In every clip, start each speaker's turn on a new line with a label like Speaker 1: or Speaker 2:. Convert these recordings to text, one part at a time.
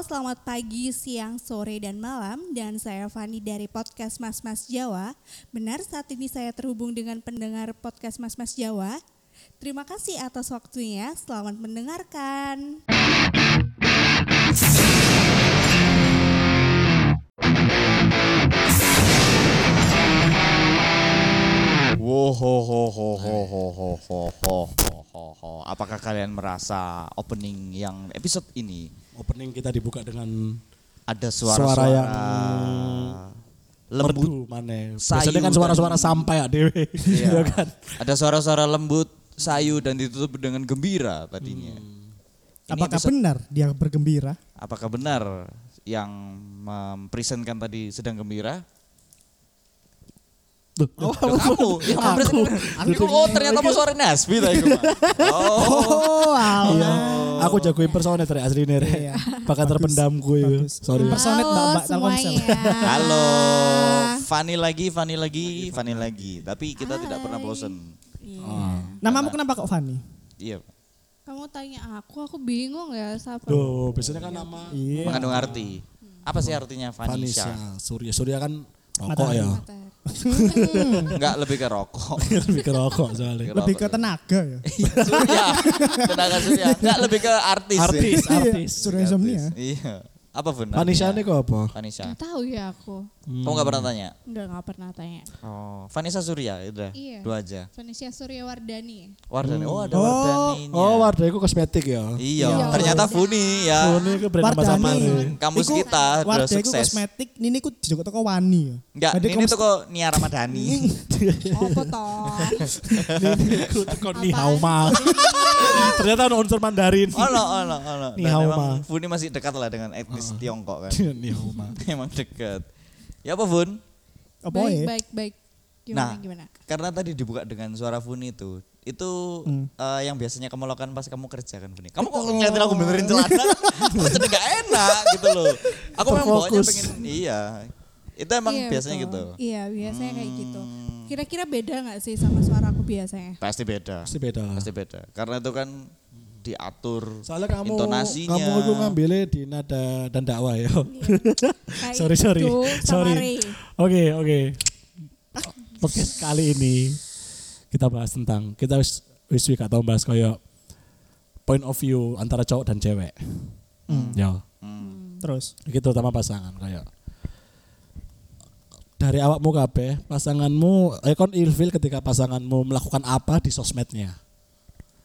Speaker 1: selamat pagi, siang, sore, dan malam. Dan saya Fani dari podcast Mas Mas Jawa. Benar saat ini saya terhubung dengan pendengar podcast Mas Mas Jawa. Terima kasih atas waktunya. Selamat mendengarkan.
Speaker 2: Wohohohohohohohohohoho. Apakah kalian merasa opening yang episode ini
Speaker 3: opening kita dibuka dengan
Speaker 2: ada
Speaker 3: suara,
Speaker 2: suara-suara
Speaker 3: yang
Speaker 2: lembut?
Speaker 3: merdu mana.
Speaker 2: sayu
Speaker 3: Biasanya kan
Speaker 2: dan-
Speaker 3: suara-suara sampai ya dewe.
Speaker 2: Iya.
Speaker 3: Iya kan.
Speaker 2: Ada suara-suara lembut, sayu dan ditutup dengan gembira tadinya. Ini
Speaker 4: Apakah
Speaker 2: episode-
Speaker 4: benar dia bergembira?
Speaker 2: apakah benar yang mempresentkan tadi sedang gembira?
Speaker 3: Duh,
Speaker 2: Oh, kamu yang mempresentkan. Aku, oh ternyata mau suara Nasbi tadi. Oh,
Speaker 4: Oh,
Speaker 3: Iya.
Speaker 4: alah.
Speaker 3: Aku jagoin personet dari asli nih. Rek.
Speaker 4: Oh. Iya.
Speaker 3: Bakal terpendam gue. ya.
Speaker 4: Bagus.
Speaker 3: Sorry.
Speaker 4: Pers- Personet
Speaker 1: Halo
Speaker 4: Mbak-mbak Telkomsel.
Speaker 1: semuanya.
Speaker 2: Halo, Fani lagi, Fani lagi, Fani lagi. Tapi kita tidak pernah bosen. Ah.
Speaker 1: Iya.
Speaker 4: Namamu kenapa kok Fani?
Speaker 2: Iya,
Speaker 1: Kamu tanya aku, aku bingung ya siapa.
Speaker 3: Duh, biasanya kan nama
Speaker 4: Iya.
Speaker 2: mengandung arti. Apa sih artinya
Speaker 3: Vanisha.
Speaker 2: Vanisha?
Speaker 3: Surya. Surya kan rokok ya.
Speaker 1: Bentar.
Speaker 2: Enggak lebih ke rokok.
Speaker 3: Lebih ke rokok soalnya.
Speaker 4: Lebih ke tenaga ya.
Speaker 2: Surya, tenaga Surya. Enggak lebih ke artis. ya.
Speaker 3: Artis, artis.
Speaker 4: Surya ya? Insomnia.
Speaker 2: Iya. Apa benar?
Speaker 3: Vanisha ini kok apa?
Speaker 2: Vanessa.
Speaker 1: Nggak tahu ya aku.
Speaker 2: Kamu nggak pernah tanya?
Speaker 1: Enggak, nggak pernah tanya.
Speaker 2: Oh, Vanessa Surya, udah.
Speaker 1: Iya.
Speaker 2: Dua aja.
Speaker 1: Venesia Suryawardani.
Speaker 2: Wardani. Oh, ada
Speaker 4: Oh,
Speaker 2: Wardaninya.
Speaker 3: Oh, Wardah itu kosmetik ya.
Speaker 2: Iya, ternyata Funi ya.
Speaker 3: Oh, Ini ke brand nama
Speaker 4: Wardani.
Speaker 3: samaran ya.
Speaker 2: Kampus kita udah
Speaker 4: Wardah iku
Speaker 2: sukses.
Speaker 4: kosmetik, Nini ku dijoko toko Wani ya.
Speaker 2: Enggak,
Speaker 4: Jadi
Speaker 2: ini
Speaker 4: kamu-
Speaker 2: toko Nia Ramadhani.
Speaker 1: Apa toh?
Speaker 3: Kon ni hao ma. Ternyata ada unsur Mandarin.
Speaker 2: Oh, no, oh, no, oh, no.
Speaker 3: Ni
Speaker 2: Dan
Speaker 3: hao
Speaker 2: emang
Speaker 3: ma.
Speaker 2: Funi masih dekat lah dengan etnis Tiongkok kan.
Speaker 3: Ni hao ma.
Speaker 2: Emang dekat. Ya apa Fun?
Speaker 4: Apa
Speaker 1: baik,
Speaker 4: ya?
Speaker 1: baik, baik. Gimana,
Speaker 2: Nah.
Speaker 1: gimana?
Speaker 2: Karena tadi dibuka dengan suara Funi itu. Itu eh, yang biasanya kamu lakukan pas kamu kerja kan Funi. Kamu kok ngeliatin aku benerin celana? aku jadi gak enak gitu loh. Aku memang bawaannya
Speaker 3: Terfokus.
Speaker 2: pengen, iya. Itu emang
Speaker 1: Iya,
Speaker 2: biasanya
Speaker 1: betul.
Speaker 2: gitu. Hmm.
Speaker 1: Iya, biasanya kayak gitu. Kira-kira beda nggak sih sama suara aku biasanya?
Speaker 2: Pasti beda.
Speaker 3: Pasti beda lah.
Speaker 2: Pasti beda. Karena itu kan diatur
Speaker 3: Soalnya kamu
Speaker 2: intonasinya.
Speaker 3: kamu itu ngambilnya di nada dan dakwah ya.
Speaker 4: Iya.
Speaker 1: Kayak
Speaker 3: sorry sorry
Speaker 1: gitu sama
Speaker 3: sorry.
Speaker 1: Ray.
Speaker 3: Oke oke. Podcast kali ini kita bahas tentang kita wis wis wis gak tau bahas kayak point of view antara cowok dan cewek.
Speaker 4: Hmm.
Speaker 3: Ya.
Speaker 4: Terus.
Speaker 3: Iki terutama pasangan kayak dari awakmu kabeh pasanganmu eh kon ilfil ketika pasanganmu melakukan apa di sosmednya.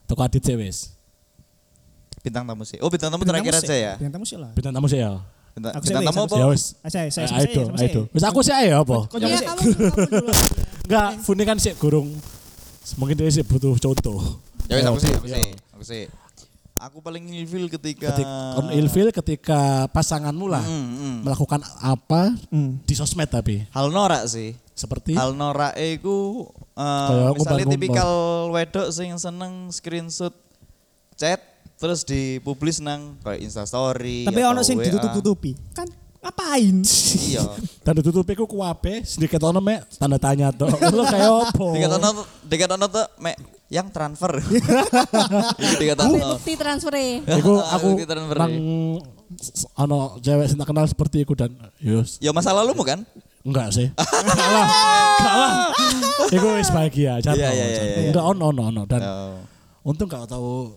Speaker 3: Toko adit sih wis.
Speaker 2: Bintang tamu sih. Oh, bintang tamu
Speaker 4: Bintang
Speaker 2: terakhir
Speaker 4: musik.
Speaker 2: aja ya.
Speaker 4: Bintang musik lah.
Speaker 3: Bintang tamu sih ya.
Speaker 2: Bintang,
Speaker 4: Aku sih,
Speaker 2: bintang
Speaker 4: Wei,
Speaker 2: tamu
Speaker 4: sama
Speaker 2: apa?
Speaker 3: Ya wis.
Speaker 4: Ah, saya, saya,
Speaker 3: Eh,
Speaker 4: saya,
Speaker 3: Aido,
Speaker 4: sama saya.
Speaker 3: Aido. Wis aku sih ayo apa?
Speaker 4: Kok
Speaker 1: Iya,
Speaker 4: jangan
Speaker 1: kamu, kamu dulu.
Speaker 3: Enggak, Funi kan sih gurung. Mungkin dia sih butuh contoh.
Speaker 2: Ya wis, aku sih, aku sih, aku sih. Aku paling ilfil ketika
Speaker 3: Ketika on ilfil ketika pasanganmu lah
Speaker 2: Mm, mm.
Speaker 3: melakukan apa
Speaker 4: Hmm.
Speaker 3: di sosmed tapi
Speaker 2: hal norak sih.
Speaker 3: seperti
Speaker 2: Hal norak iku
Speaker 3: Kayak
Speaker 2: eh misalnya
Speaker 3: ngumbar-ngumbar.
Speaker 2: tipikal wedok sing seneng screenshot chat terus dipublis nang kayak Insta story
Speaker 4: Tapi ono sing ditutup-tutupi. Kan ngapain?
Speaker 2: ah. Iya.
Speaker 3: dan ditutupi ku kuape sedikit ono mek tanda tanya tuh lo kayak apa
Speaker 2: Dikatono dikatono tuh mek yang transfer. Iku dikatono.
Speaker 1: Bukti transfernya.
Speaker 3: Iku aku
Speaker 2: Bukti transfer.
Speaker 3: nang s- ono cewek sing tak kenal seperti iku dan yus
Speaker 2: Ya masa lalumu kan?
Speaker 3: enggak sih kalah kalah iku wis bahagia jatuh
Speaker 2: Iya, iya, iya, iya.
Speaker 3: enggak ono ono ono dan
Speaker 2: Oh.
Speaker 3: untung gak tahu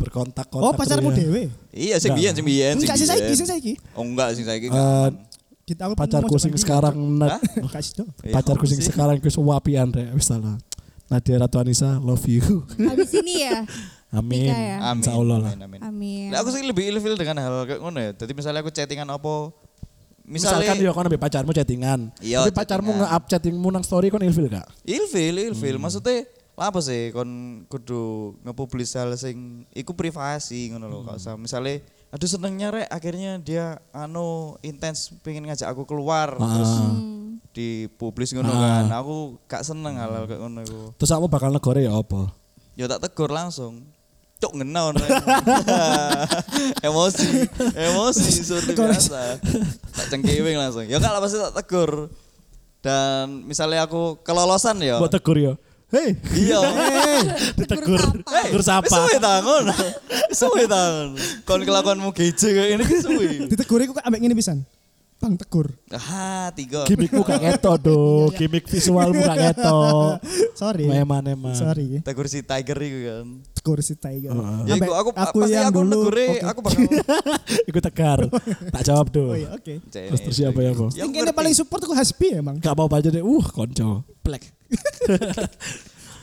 Speaker 3: berkontak kontak
Speaker 4: Oh, pacarmu dewe.
Speaker 2: Iya sih biyen sih biyen sing
Speaker 4: Enggak sih
Speaker 2: biyen.
Speaker 4: saiki, sing saiki.
Speaker 2: Oh enggak sih saiki.
Speaker 4: Kita
Speaker 3: Eh,
Speaker 4: aku
Speaker 3: pacarku sing sekarang net,
Speaker 4: Kasih dong.
Speaker 2: Iya,
Speaker 3: pacarku sing
Speaker 2: sih.
Speaker 3: sekarang ku wapian rek wis salah Nadia Ratu Anissa love you
Speaker 1: Habis ini ya.
Speaker 3: amin
Speaker 1: Nikah ya?
Speaker 2: Amin.
Speaker 3: Eh, Insya Allah lah
Speaker 2: Amin, amin.
Speaker 1: Amin.
Speaker 2: Nah, aku sih lebih ilfil dengan hal kayak ngono ya. Jadi misalnya aku chattingan apa misalnya
Speaker 3: misalkan yo kon ambek pacarmu chattingan
Speaker 2: Iya,
Speaker 3: tapi pacarmu
Speaker 2: chattingan.
Speaker 3: nge-up chattingmu nang story kon ilfil gak
Speaker 2: ilfil, ilfil.
Speaker 3: Hmm.
Speaker 2: Maksudnya lah apa sih kon kudu ngepublis hal sing iku privasi ngono
Speaker 3: Hmm.
Speaker 2: lho. Gak usah misalnya aduh senengnya rek akhirnya dia anu intens pengen ngajak aku keluar terus
Speaker 3: Ah.
Speaker 2: dipublis ngono kan. Aku gak seneng hal-hal kayak ngono iku.
Speaker 3: terus aku bakal negore ya apa
Speaker 2: Ya tak tegur langsung. Cuk ngena orang. emosi, emosi seperti biasa. Tak cengkewing langsung. Ya kalau pasti tak tegur. Dan misalnya aku kelolosan ya.
Speaker 3: buat tegur yo Hei,
Speaker 2: Iya.
Speaker 3: ditegur.
Speaker 1: Hey,
Speaker 3: Ditegur sapa?
Speaker 2: Eh, Suwe tangon. Suwe tangon. Kon kelakuanmu geje kayak ini ki suwe.
Speaker 4: Ditegur iku kok ambek ngene pisan. Bang tegur.
Speaker 2: Ah, tiga.
Speaker 3: Gimikmu gak ketok do,
Speaker 4: Iya.
Speaker 3: gimik visualmu gak ketok.
Speaker 4: Sorry.
Speaker 3: Eman-eman.
Speaker 4: Sorry.
Speaker 2: Tegur si Tiger iku kan.
Speaker 4: Tegur si gitu. Tiger.
Speaker 3: Heeh.
Speaker 2: Ya
Speaker 4: Ambek
Speaker 2: iku aku, pasti aku negure,
Speaker 4: Oke.
Speaker 2: aku bakal
Speaker 3: Iku tegar. Tak jawab do.
Speaker 4: Oh iya, oke.
Speaker 3: Terus terus siapa
Speaker 2: Iya,
Speaker 3: ya, Bo?
Speaker 4: Yang kene paling support aku Hasbi ya, emang.
Speaker 3: Gak mau aja deh. Uh, konco. Black.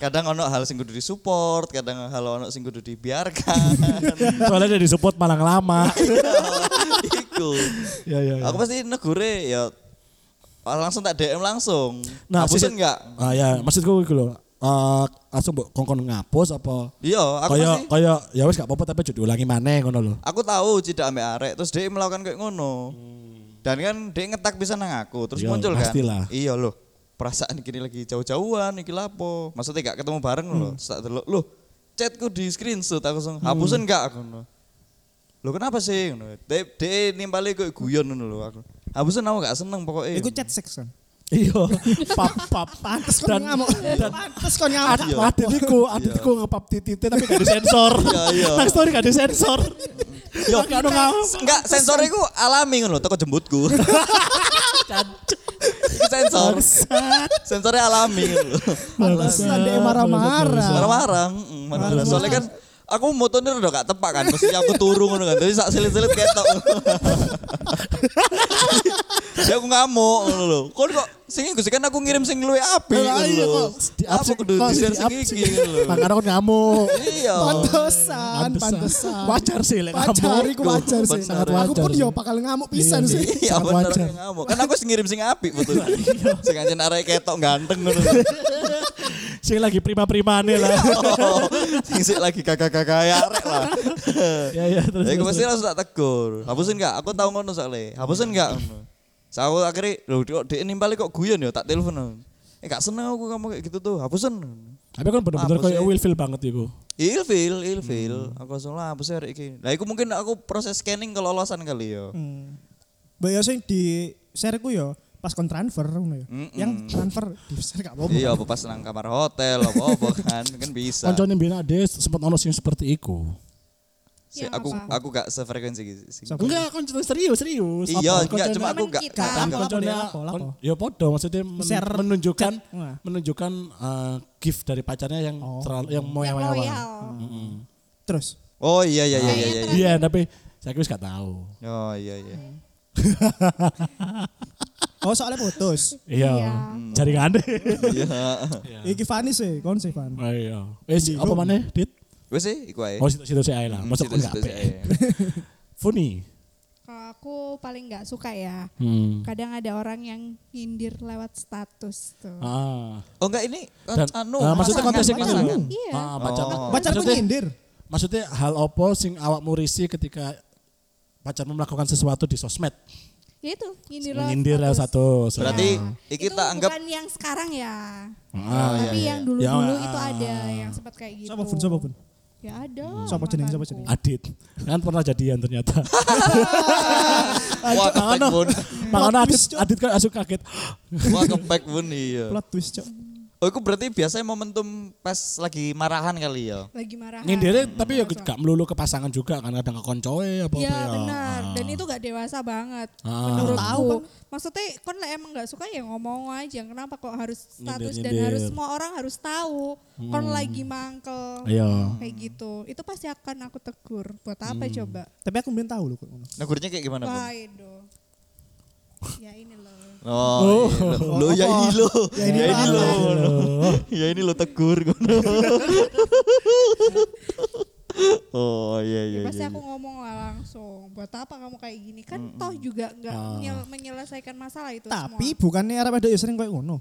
Speaker 2: kadang ono hal sing kudu disupport, kadang hal ono sing kudu dibiarkan.
Speaker 3: Soalnya dia disupport malah lama.
Speaker 2: Iku.
Speaker 3: ya, ya, ya.
Speaker 2: Aku pasti negure ya langsung tak DM langsung.
Speaker 3: Nah,
Speaker 2: Hapusin
Speaker 3: maksud-
Speaker 2: enggak?
Speaker 3: Ah ya, maksudku iku lho. Eh, langsung mbok kongkon ngapus apa?
Speaker 2: Iya, aku
Speaker 3: Kaya
Speaker 2: pasti
Speaker 3: kaya ya wis gak apa-apa tapi judul ulangi maneh ngono lho.
Speaker 2: aku tahu tidak ambek arek terus dia melakukan kayak ngono dan kan dia ngetak bisa nang aku terus
Speaker 3: Hmm. Iya,
Speaker 2: muncul
Speaker 3: pastilah.
Speaker 2: kan iya loh perasaan gini lagi jauh-jauhan iki lapo maksudnya gak ketemu bareng
Speaker 3: Hmm.
Speaker 2: loh terus tak delok loh chatku di screenshot aku langsung hapusin gak aku ngono lo kenapa sih ngono dia dia nimpali kayak guyon ngono lho aku hapusin aku gak seneng pokoknya
Speaker 4: Iku chat seks kan.
Speaker 3: Iya, pap pap.
Speaker 4: Pantes kon
Speaker 3: Dan-
Speaker 4: ngamuk. Pantes kon
Speaker 3: Ad-
Speaker 4: ngamuk.
Speaker 3: Aditku, aditku ngepap titite tapi gak disensor.
Speaker 2: Iya, iya.
Speaker 3: Nang story gak disensor. Yo, gak ono ngawur.
Speaker 2: enggak sensor iku alami ngono lho teko jembutku Iku sensor sensornya alami ngono lho
Speaker 4: Pantesan dia marah-marah.
Speaker 2: Marah-marah, mm, marah-marah. Soalnya kan aku motornya udah gak tepak kan, mesti aku turun ngono kan. Jadi sak selit-selit ketok. Ya aku ngamuk ngono lho. Kon kok sing iku sih, kan aku ngirim sing luwe api
Speaker 3: Lah,
Speaker 2: ngono
Speaker 3: iya,
Speaker 2: lho.
Speaker 3: kok di
Speaker 2: Apa
Speaker 3: absen-
Speaker 2: kudu
Speaker 3: kok
Speaker 2: di-share
Speaker 3: di
Speaker 2: sing
Speaker 3: absen.
Speaker 2: iki ngono gitu lho.
Speaker 3: Makanya kan ngamuk.
Speaker 2: Iya.
Speaker 4: Pantesan, pantesan.
Speaker 3: Wajar sih lek
Speaker 4: Wajar,
Speaker 3: ngamuk.
Speaker 4: iku wajar sih.
Speaker 2: Bener.
Speaker 3: Sangat
Speaker 4: Aku
Speaker 3: wajar
Speaker 4: pun
Speaker 3: sih.
Speaker 4: yo bakal ngamuk pisan
Speaker 3: Iya,
Speaker 4: sih.
Speaker 2: Iya
Speaker 3: Sangat
Speaker 2: bener
Speaker 3: wajar. Iya.
Speaker 2: aku ngamuk. Kan aku sing ngirim sing api betul. Sing anjen arek ketok ganteng ngono.
Speaker 3: Sing lagi prima-primane lah.
Speaker 2: Oh, Sing sik lagi kakak-kakak ya arek lah.
Speaker 3: Ya ya terus.
Speaker 2: Ya, aku
Speaker 3: terus.
Speaker 2: pasti langsung tak tegur. Hapusin enggak? Aku tahu ngono soalnya. Hapusin enggak? Saya aku akhirnya, loh kok dia nimpali kok guyon ya, tak telepon. Eh gak seneng aku kamu kayak gitu tuh, hapusin.
Speaker 3: Tapi kan bener-bener
Speaker 2: Apa
Speaker 3: koyo
Speaker 2: sih?
Speaker 3: Wilfil banget iku.
Speaker 2: Ilfil, ilfil.
Speaker 3: Hmm.
Speaker 2: Aku langsung lah hapusin hari ini. Nah itu mungkin aku proses scanning kelolosan kali ya.
Speaker 3: Hmm.
Speaker 4: Mbak Yosin di share ku yo pas kon transfer ngono yo.
Speaker 2: Mm-mm.
Speaker 4: Yang transfer di share gak apa-apa.
Speaker 2: Iya, apa pas nang kamar hotel, apa-apa kan, kan bisa.
Speaker 3: Koncone mbien ade sempat ono sing seperti iku.
Speaker 2: Si,
Speaker 1: Yang
Speaker 2: aku
Speaker 1: apa?
Speaker 2: aku gak sefrekuensi gitu. sih.
Speaker 4: Sopo?
Speaker 3: Enggak, koncone serius, serius.
Speaker 2: Iya, enggak
Speaker 3: Apa? Koncone-
Speaker 2: cuma aku
Speaker 1: Temen
Speaker 2: gak
Speaker 1: kita.
Speaker 2: gak-
Speaker 4: Apa, apa,
Speaker 3: koncone-
Speaker 4: apa, apa, apa?
Speaker 3: Ya podo maksudnya men-
Speaker 4: Share
Speaker 3: menunjukkan
Speaker 4: chat. Wah.
Speaker 3: menunjukkan eh, gift dari pacarnya yang
Speaker 4: Oh.
Speaker 3: terlalu yang mau
Speaker 1: Yang
Speaker 3: yang
Speaker 1: loyal.
Speaker 2: Hmm.
Speaker 4: Terus
Speaker 2: Oh iya iya iya iya. iya, iya.
Speaker 3: Iya, tapi saya wis gak tahu.
Speaker 2: Oh iya iya.
Speaker 4: Oh soalnya putus.
Speaker 3: Iya. Jaringan deh.
Speaker 2: Iya.
Speaker 4: Iki Fani sih, kon sih Fan.
Speaker 3: Oh, iya. Wis apa maneh, Dit?
Speaker 2: Wes sih iku ae.
Speaker 3: Oh, situ situ saya lah. Masuk
Speaker 2: Situ-
Speaker 3: enggak
Speaker 2: situ
Speaker 3: apa.
Speaker 2: sih ae.
Speaker 3: Funny.
Speaker 1: Kalau aku paling nggak suka ya.
Speaker 3: Hmm.
Speaker 1: Kadang ada orang yang nyindir lewat status tuh.
Speaker 3: Ah.
Speaker 2: Oh enggak ini kan
Speaker 3: Dan
Speaker 2: anu.
Speaker 3: eh, maksudnya
Speaker 2: pasangan,
Speaker 3: konteksnya gitu
Speaker 2: pasangan.
Speaker 3: loh.
Speaker 1: Iya.
Speaker 3: Ah, pacar.
Speaker 2: Oh.
Speaker 4: Pacarku
Speaker 3: Maksudnya-
Speaker 4: nyindir.
Speaker 3: Maksudnya hal apa sing awakmu risih ketika pacarmu melakukan sesuatu di sosmed?
Speaker 1: Ya itu nyindir lewat
Speaker 3: Menyindir lah
Speaker 1: status. Iya.
Speaker 3: satu.
Speaker 2: Berarti iki
Speaker 1: Itu
Speaker 2: tak anggap
Speaker 1: bukan yang sekarang ya.
Speaker 3: Ah,
Speaker 1: Tapi yang
Speaker 2: iya,
Speaker 1: dulu-dulu
Speaker 3: Ya,
Speaker 1: itu
Speaker 3: ah.
Speaker 1: ada yang sempat kayak gitu.
Speaker 4: Sopo pun, sopo pun.
Speaker 1: Ya ada.
Speaker 4: Sopo jeneng, sopo
Speaker 1: mantanku.
Speaker 4: jeneng.
Speaker 3: Adit. Kan pernah jadian ternyata.
Speaker 2: wah kepek bun.
Speaker 3: Makanya Adit,
Speaker 4: twist, Cok.
Speaker 3: Adit kan asuh kaget.
Speaker 2: Wah kepek bun iya.
Speaker 4: Plot twist cok.
Speaker 2: Oh itu berarti biasanya momentum pas lagi marahan kali ya.
Speaker 1: Lagi marah.
Speaker 3: Nyindirnya tapi ya gak melulu ke pasangan juga kan kadang ke koncoe apa apa
Speaker 1: Iya benar. Dan itu gak dewasa banget.
Speaker 3: ya. Ah.
Speaker 1: Menurut
Speaker 4: Tahu,
Speaker 1: aku. Maksudnya kon lah emang gak suka ya ngomong aja. Kenapa kok harus status dan
Speaker 3: Nyindir-nyindir.
Speaker 1: harus semua orang harus tahu kon lagi mangkel.
Speaker 3: Hmm. Iya.
Speaker 1: Kayak gitu. Itu pasti akan aku tegur. Buat apa
Speaker 3: Hmm.
Speaker 1: coba?
Speaker 4: Tapi aku belum tahu loh kok ngono.
Speaker 2: Negurnya kayak gimana bun?
Speaker 1: Wah, Edo. Ya ini loh.
Speaker 2: Oh, iya. lo ya ini lo, ya ini lo, ya ini lo tegur ngono. Oh iya iya
Speaker 1: Ya, pasti
Speaker 2: iya.
Speaker 1: aku ngomong lah langsung. Buat apa kamu kayak gini? Kan
Speaker 3: Hmm.
Speaker 1: toh juga nggak
Speaker 3: Ah.
Speaker 1: menyel- menyelesaikan masalah itu
Speaker 4: Tapi
Speaker 1: semua.
Speaker 4: bukannya Arab ada yang sering kayak ngono.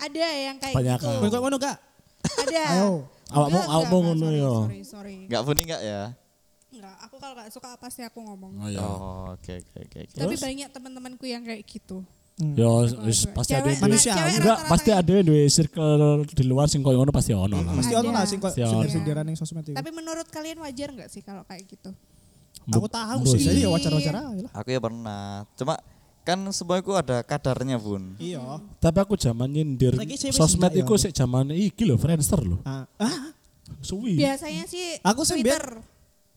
Speaker 1: Ada yang kayak
Speaker 3: Banyak.
Speaker 1: gitu.
Speaker 4: Kayak ngono gak?
Speaker 1: Ada.
Speaker 4: Ayo.
Speaker 3: Awakmu
Speaker 1: Enggak,
Speaker 3: awakmu
Speaker 1: enggak,
Speaker 3: ngono
Speaker 1: sorry,
Speaker 3: ya.
Speaker 1: Sorry, sorry.
Speaker 2: Enggak funny enggak ya?
Speaker 1: Enggak, aku kalau nggak suka pasti aku ngomong.
Speaker 3: Oh iya.
Speaker 2: Oh oke oke oke. oke.
Speaker 1: Tapi banyak teman-temanku yang kayak gitu.
Speaker 3: Ya wis pasti ada
Speaker 1: Cewek-
Speaker 3: yang duwe-
Speaker 4: Manusia.
Speaker 1: cewek
Speaker 4: Enggak,
Speaker 3: enggak
Speaker 1: rata-rata ya.
Speaker 3: pasti
Speaker 1: kayak-
Speaker 3: ada yang duwe circle di luar sing koyo ngono pasti ono
Speaker 1: Iya,
Speaker 3: lah.
Speaker 4: Pasti ono lah sing kayak
Speaker 3: Pasti ono.
Speaker 4: sindir-sindiran yang sosmed
Speaker 3: Iya.
Speaker 4: itu.
Speaker 1: Tapi menurut kalian wajar nggak sih kalau kayak gitu?
Speaker 4: Aku tahu
Speaker 3: Mbok-
Speaker 4: sih, jadi ya wajar-wajar aja Iya, lah.
Speaker 2: Aku ya pernah. Cuma kan semua itu ada kadarnya bun
Speaker 4: Iya.
Speaker 3: Tapi aku zaman nyindir
Speaker 4: Lagi sih wis
Speaker 3: sosmed
Speaker 4: enggak
Speaker 3: iku
Speaker 4: ya?
Speaker 3: sik zaman iki lho, Friendster lho.
Speaker 4: Ah, ah,
Speaker 3: Suwi.
Speaker 1: Biasanya sih
Speaker 4: Aku sih
Speaker 1: Twitter.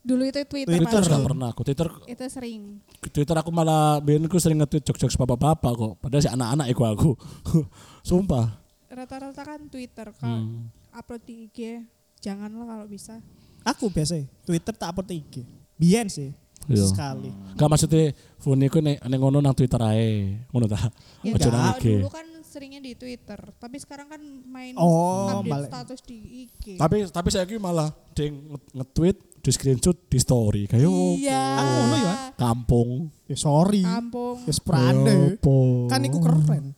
Speaker 1: Dulu itu Twitter,
Speaker 3: Twitter
Speaker 1: paling.
Speaker 3: gak pernah aku. Twitter
Speaker 1: Itu sering.
Speaker 3: Twitter aku malah biyen aku sering nge-tweet jok-jok bapak-bapak kok. Padahal si anak-anak iku aku. Sumpah.
Speaker 1: Rata-rata kan Twitter kalau
Speaker 3: Hmm.
Speaker 1: upload di IG janganlah kalau bisa.
Speaker 4: aku biasa Twitter tak upload IG. Biyen sih.
Speaker 3: Iya.
Speaker 4: Sekali.
Speaker 3: Gak maksudnya Funi ku nek nek ngono nang Twitter ae. Ngono ta.
Speaker 1: Ya,
Speaker 3: Ojo
Speaker 1: kalau
Speaker 3: nang IG.
Speaker 1: dulu kan seringnya di Twitter, tapi sekarang kan main
Speaker 4: Oh,
Speaker 1: update
Speaker 4: balik.
Speaker 1: status di IG.
Speaker 3: Tapi tapi saya malah ding nge- nge-tweet di screenshot di story kayak "Oh,
Speaker 1: iya.
Speaker 4: ngono ya?
Speaker 3: kampung.
Speaker 4: Ya sorry.
Speaker 1: Kampung.
Speaker 3: Iya.
Speaker 4: Ya sprane.
Speaker 3: Opo.
Speaker 4: Kan iku keren.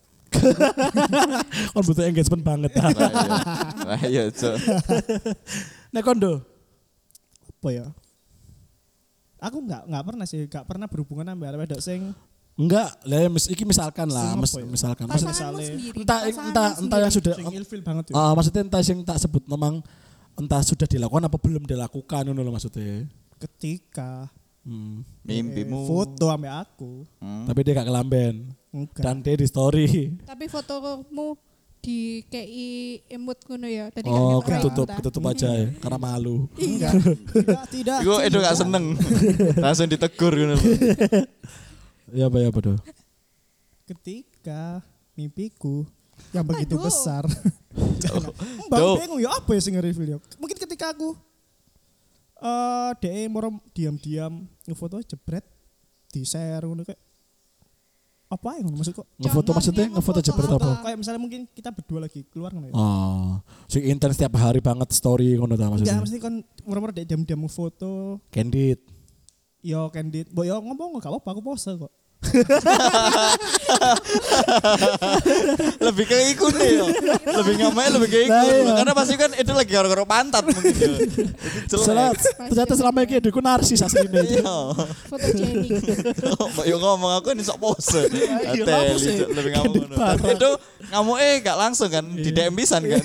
Speaker 3: kan butuh engagement banget.
Speaker 2: lah iya lah iya Cok.
Speaker 3: Nek kondo
Speaker 4: Apa ya? Aku nggak nggak pernah sih, nggak pernah berhubungan sama arek wedok sing
Speaker 3: Enggak, lah ya mis, iki misalkan lah,
Speaker 4: Sing
Speaker 3: mis,
Speaker 4: apa ya?
Speaker 3: misalkan. Mas,
Speaker 1: Pasanganmu
Speaker 4: misalnya-
Speaker 1: sendiri.
Speaker 3: entah
Speaker 1: pasanganmu
Speaker 3: entah entah yang
Speaker 1: sendiri.
Speaker 3: sudah
Speaker 4: sing ilfil banget ya.
Speaker 3: ah, maksudnya entah yang tak sebut memang entah sudah dilakukan apa belum dilakukan ngono lho maksudnya.
Speaker 4: Ketika
Speaker 3: Hmm.
Speaker 2: mimpimu
Speaker 4: eh, foto sama aku
Speaker 2: Hmm.
Speaker 3: Tapi dia gak kelamben.
Speaker 4: enggak.
Speaker 3: Dan dia di story.
Speaker 1: Tapi fotomu di KI emut ngono ya. Tadi kan yang
Speaker 3: Oh,
Speaker 1: orang
Speaker 3: ketutup,
Speaker 1: kita.
Speaker 3: ketutup aja ya, karena malu.
Speaker 4: Enggak, tidak, tidak.
Speaker 2: Iku itu gak
Speaker 4: tidak.
Speaker 2: seneng langsung ditegur gitu
Speaker 3: Iya, apa ya, apa Do?
Speaker 4: Ketika mimpiku yang begitu
Speaker 1: Aduh.
Speaker 4: besar.
Speaker 3: Oh,
Speaker 4: Mbak
Speaker 2: Duh.
Speaker 4: bingung ya apa ya sing nge-reveal ya? Mungkin ketika aku eh de moro diam-diam ngefoto jebret di share ngono kayak apa yang maksud kok?
Speaker 3: Ngefoto
Speaker 1: Contohnya
Speaker 3: maksudnya
Speaker 1: ngefoto
Speaker 3: ngefoto jebret apa?
Speaker 1: apa?
Speaker 4: Kayak misalnya mungkin kita berdua lagi keluar ngono ya.
Speaker 3: Oh, sing intens setiap hari banget story ngono ta
Speaker 4: Enggak,
Speaker 3: maksudnya.
Speaker 4: mesti kon moro-moro dek diam-diam ngefoto
Speaker 3: Candid.
Speaker 4: Yo candid, mbok yo ngomong gak apa-apa aku pose kok.
Speaker 2: lebih ke iku nih yo. lebih ngomel lebih ke iku
Speaker 3: Lah, iya.
Speaker 2: karena pasti kan itu lagi gara-gara pantat mungkin yo. Itu
Speaker 3: Salah,
Speaker 2: jelek
Speaker 3: ternyata selama ini adikku narsis aslinya.
Speaker 2: Iya.
Speaker 1: Foto Jenny.
Speaker 2: Mbak yo ngomong aku ini sok pose.
Speaker 3: Iya,
Speaker 2: Atel
Speaker 3: pose.
Speaker 2: Cok, lebih ngamuk.
Speaker 3: Gede
Speaker 2: ngono.
Speaker 3: parah.
Speaker 2: Tapi itu ngamuk eh gak langsung kan di
Speaker 3: Iya.
Speaker 2: DM pisan kan.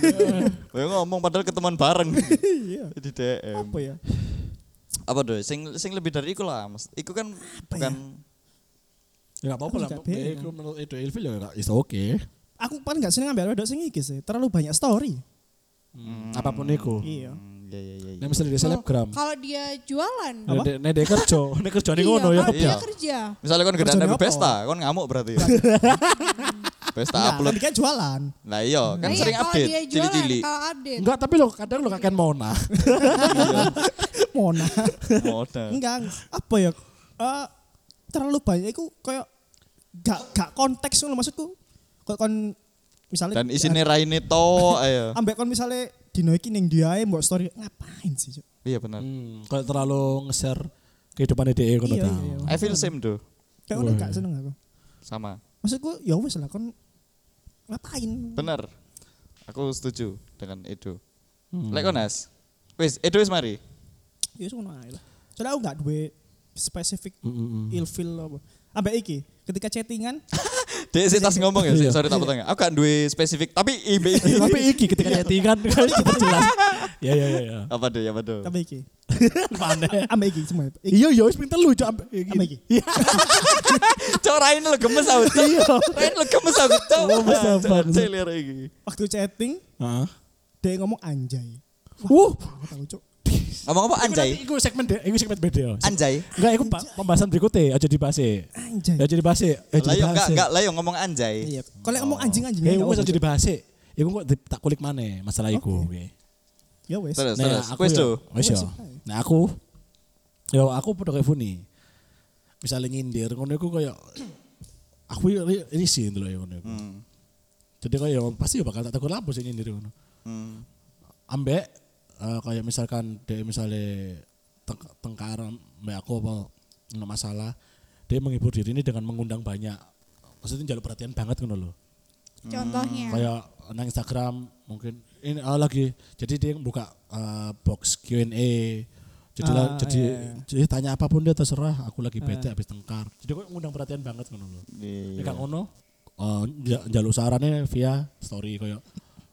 Speaker 2: Mbak yo ngomong padahal ketemuan bareng.
Speaker 4: Iya.
Speaker 2: Di DM.
Speaker 4: Apa ya?
Speaker 2: Apa doy? Sing sing lebih dari iku lah, Mas. Iku kan bukan
Speaker 3: Ya enggak apa-apa lah.
Speaker 4: Aku juga
Speaker 3: Ya,
Speaker 4: bingung.
Speaker 3: Itu menurut Edo Ilfil ya enggak is oke.
Speaker 4: Aku paling gak seneng ambil wedok sing iki sih, terlalu banyak story.
Speaker 3: Apapun itu.
Speaker 4: Iya.
Speaker 2: Iya iya iya, iya.
Speaker 3: Hmm. Nek misalnya
Speaker 1: Oh,
Speaker 3: di selebgram.
Speaker 1: Kalau dia jualan.
Speaker 2: Nah,
Speaker 4: Apa?
Speaker 3: Nek nek dia kerja, nek kerjane
Speaker 1: Iya,
Speaker 3: ngono ya.
Speaker 1: kalau dia
Speaker 2: Iya.
Speaker 1: kerja.
Speaker 2: Misalnya kon gak
Speaker 4: Kerjanya
Speaker 2: ada
Speaker 4: apa?
Speaker 2: pesta, kon ngamuk berarti ya. Pesta
Speaker 4: Nah, kan
Speaker 2: upload.
Speaker 4: dia jualan.
Speaker 2: Nah iya, kan
Speaker 1: Nah, iya,
Speaker 2: sering
Speaker 1: kalau
Speaker 2: update
Speaker 1: dia jualan,
Speaker 2: cili-cili.
Speaker 1: Kalau update.
Speaker 3: Enggak, tapi lo kadang lo kakek Mona.
Speaker 4: Mona.
Speaker 2: Modal.
Speaker 4: Enggak, apa ya? Eh terlalu banyak iku kayak gak gak konteks ngono maksudku. Kayak kon misalnya
Speaker 2: Dan isine raine to ayo.
Speaker 4: ambek kon misalnya dino iki ning dia ae mbok story ngapain sih, Cuk?
Speaker 2: Iya benar.
Speaker 3: Hmm, kalau terlalu nge-share kehidupan dia ngono
Speaker 4: Iya,
Speaker 3: ta.
Speaker 4: iya, iya.
Speaker 2: I feel same do.
Speaker 4: Kayak ngono gak seneng aku.
Speaker 2: Sama.
Speaker 4: Maksudku ya wis lah kon ngapain?
Speaker 2: Benar. Aku setuju dengan Edo. Lek konas. Wis, Edo wis mari.
Speaker 4: Ya wis ngono ae lah. Soalnya aku gak duwe spesifik
Speaker 3: Mm, mm, mm.
Speaker 4: ilfil apa. Ambek iki ketika chattingan
Speaker 2: Dek sih tas ngomong ya, sik,
Speaker 3: Iya.
Speaker 2: sorry tak potong ya. Aku gak duwe spesifik, tapi ibe
Speaker 3: Eh, Tapi iki ketika chattingan kan kita jelas. Ya ya ya ya.
Speaker 2: apa do ya apa do.
Speaker 4: ambek iki.
Speaker 3: Pandai.
Speaker 4: Ambek iki semua. Iki.
Speaker 3: Iya iya wis pinter lu cok ampe- iki. Iya.
Speaker 4: Ambek iki.
Speaker 2: Cok raine lo gemes aku. Iya. Raine lo gemes aku. Cok.
Speaker 3: Gemes
Speaker 2: Ah,
Speaker 3: apa?
Speaker 2: Cok celir iki.
Speaker 4: Waktu chatting
Speaker 3: Heeh.
Speaker 4: dia ngomong anjay.
Speaker 3: Wuh.
Speaker 4: Aku tahu, Cuk.
Speaker 2: Ngomong apa anjay?
Speaker 3: Iku segmen de, iku segmen beda.
Speaker 2: Anjay.
Speaker 3: Enggak, iku pa- pembahasan berikutnya aja dibahas. e.
Speaker 4: Anjay.
Speaker 3: Ya jadi bahas. e. Ya
Speaker 2: Lah
Speaker 3: jadi
Speaker 2: yo
Speaker 3: bahas.
Speaker 2: enggak
Speaker 3: e.
Speaker 2: enggak lah yo ngomong anjay.
Speaker 4: Iya. Kalau yang ngomong anjing anjing.
Speaker 3: Ya iku wis aja dibahas. e. Iku kok di- tak kulik maneh masalah iku. Oke.
Speaker 4: Ya wes.
Speaker 2: Terus
Speaker 3: Nah,
Speaker 2: terus.
Speaker 3: aku
Speaker 2: Wis
Speaker 3: ya-
Speaker 2: do.
Speaker 3: Wis ya.
Speaker 4: Wes, ayo.
Speaker 3: Nah, aku ya aku padha kayak Funi. Misalnya nyindir ngono iku kayak aku ya ri- risih dulu ya ngono iku.
Speaker 2: Hmm.
Speaker 3: Jadi kayak pasti ya bakal tak tegur lapo sih nyindir ngono.
Speaker 2: Hmm.
Speaker 3: Ambek eh, kayak misalkan dia misalnya teng- tengkaran mbak aku apa nggak masalah dia menghibur diri ini dengan mengundang banyak maksudnya jalur perhatian banget ngono loh
Speaker 1: Contohnya.
Speaker 3: Hmm, kayak nang Instagram mungkin ini ah, lagi jadi dia buka ah, box Q&A jadi lah-
Speaker 4: Ah,
Speaker 3: jadi
Speaker 4: iya, iya.
Speaker 3: jadi tanya apapun dia terserah aku
Speaker 1: Ah.
Speaker 3: lagi bete habis tengkar jadi kok ngundang perhatian banget ngono loh
Speaker 2: Iya.
Speaker 3: Nek ngono eh, nja- njaluk sarannya via story kayak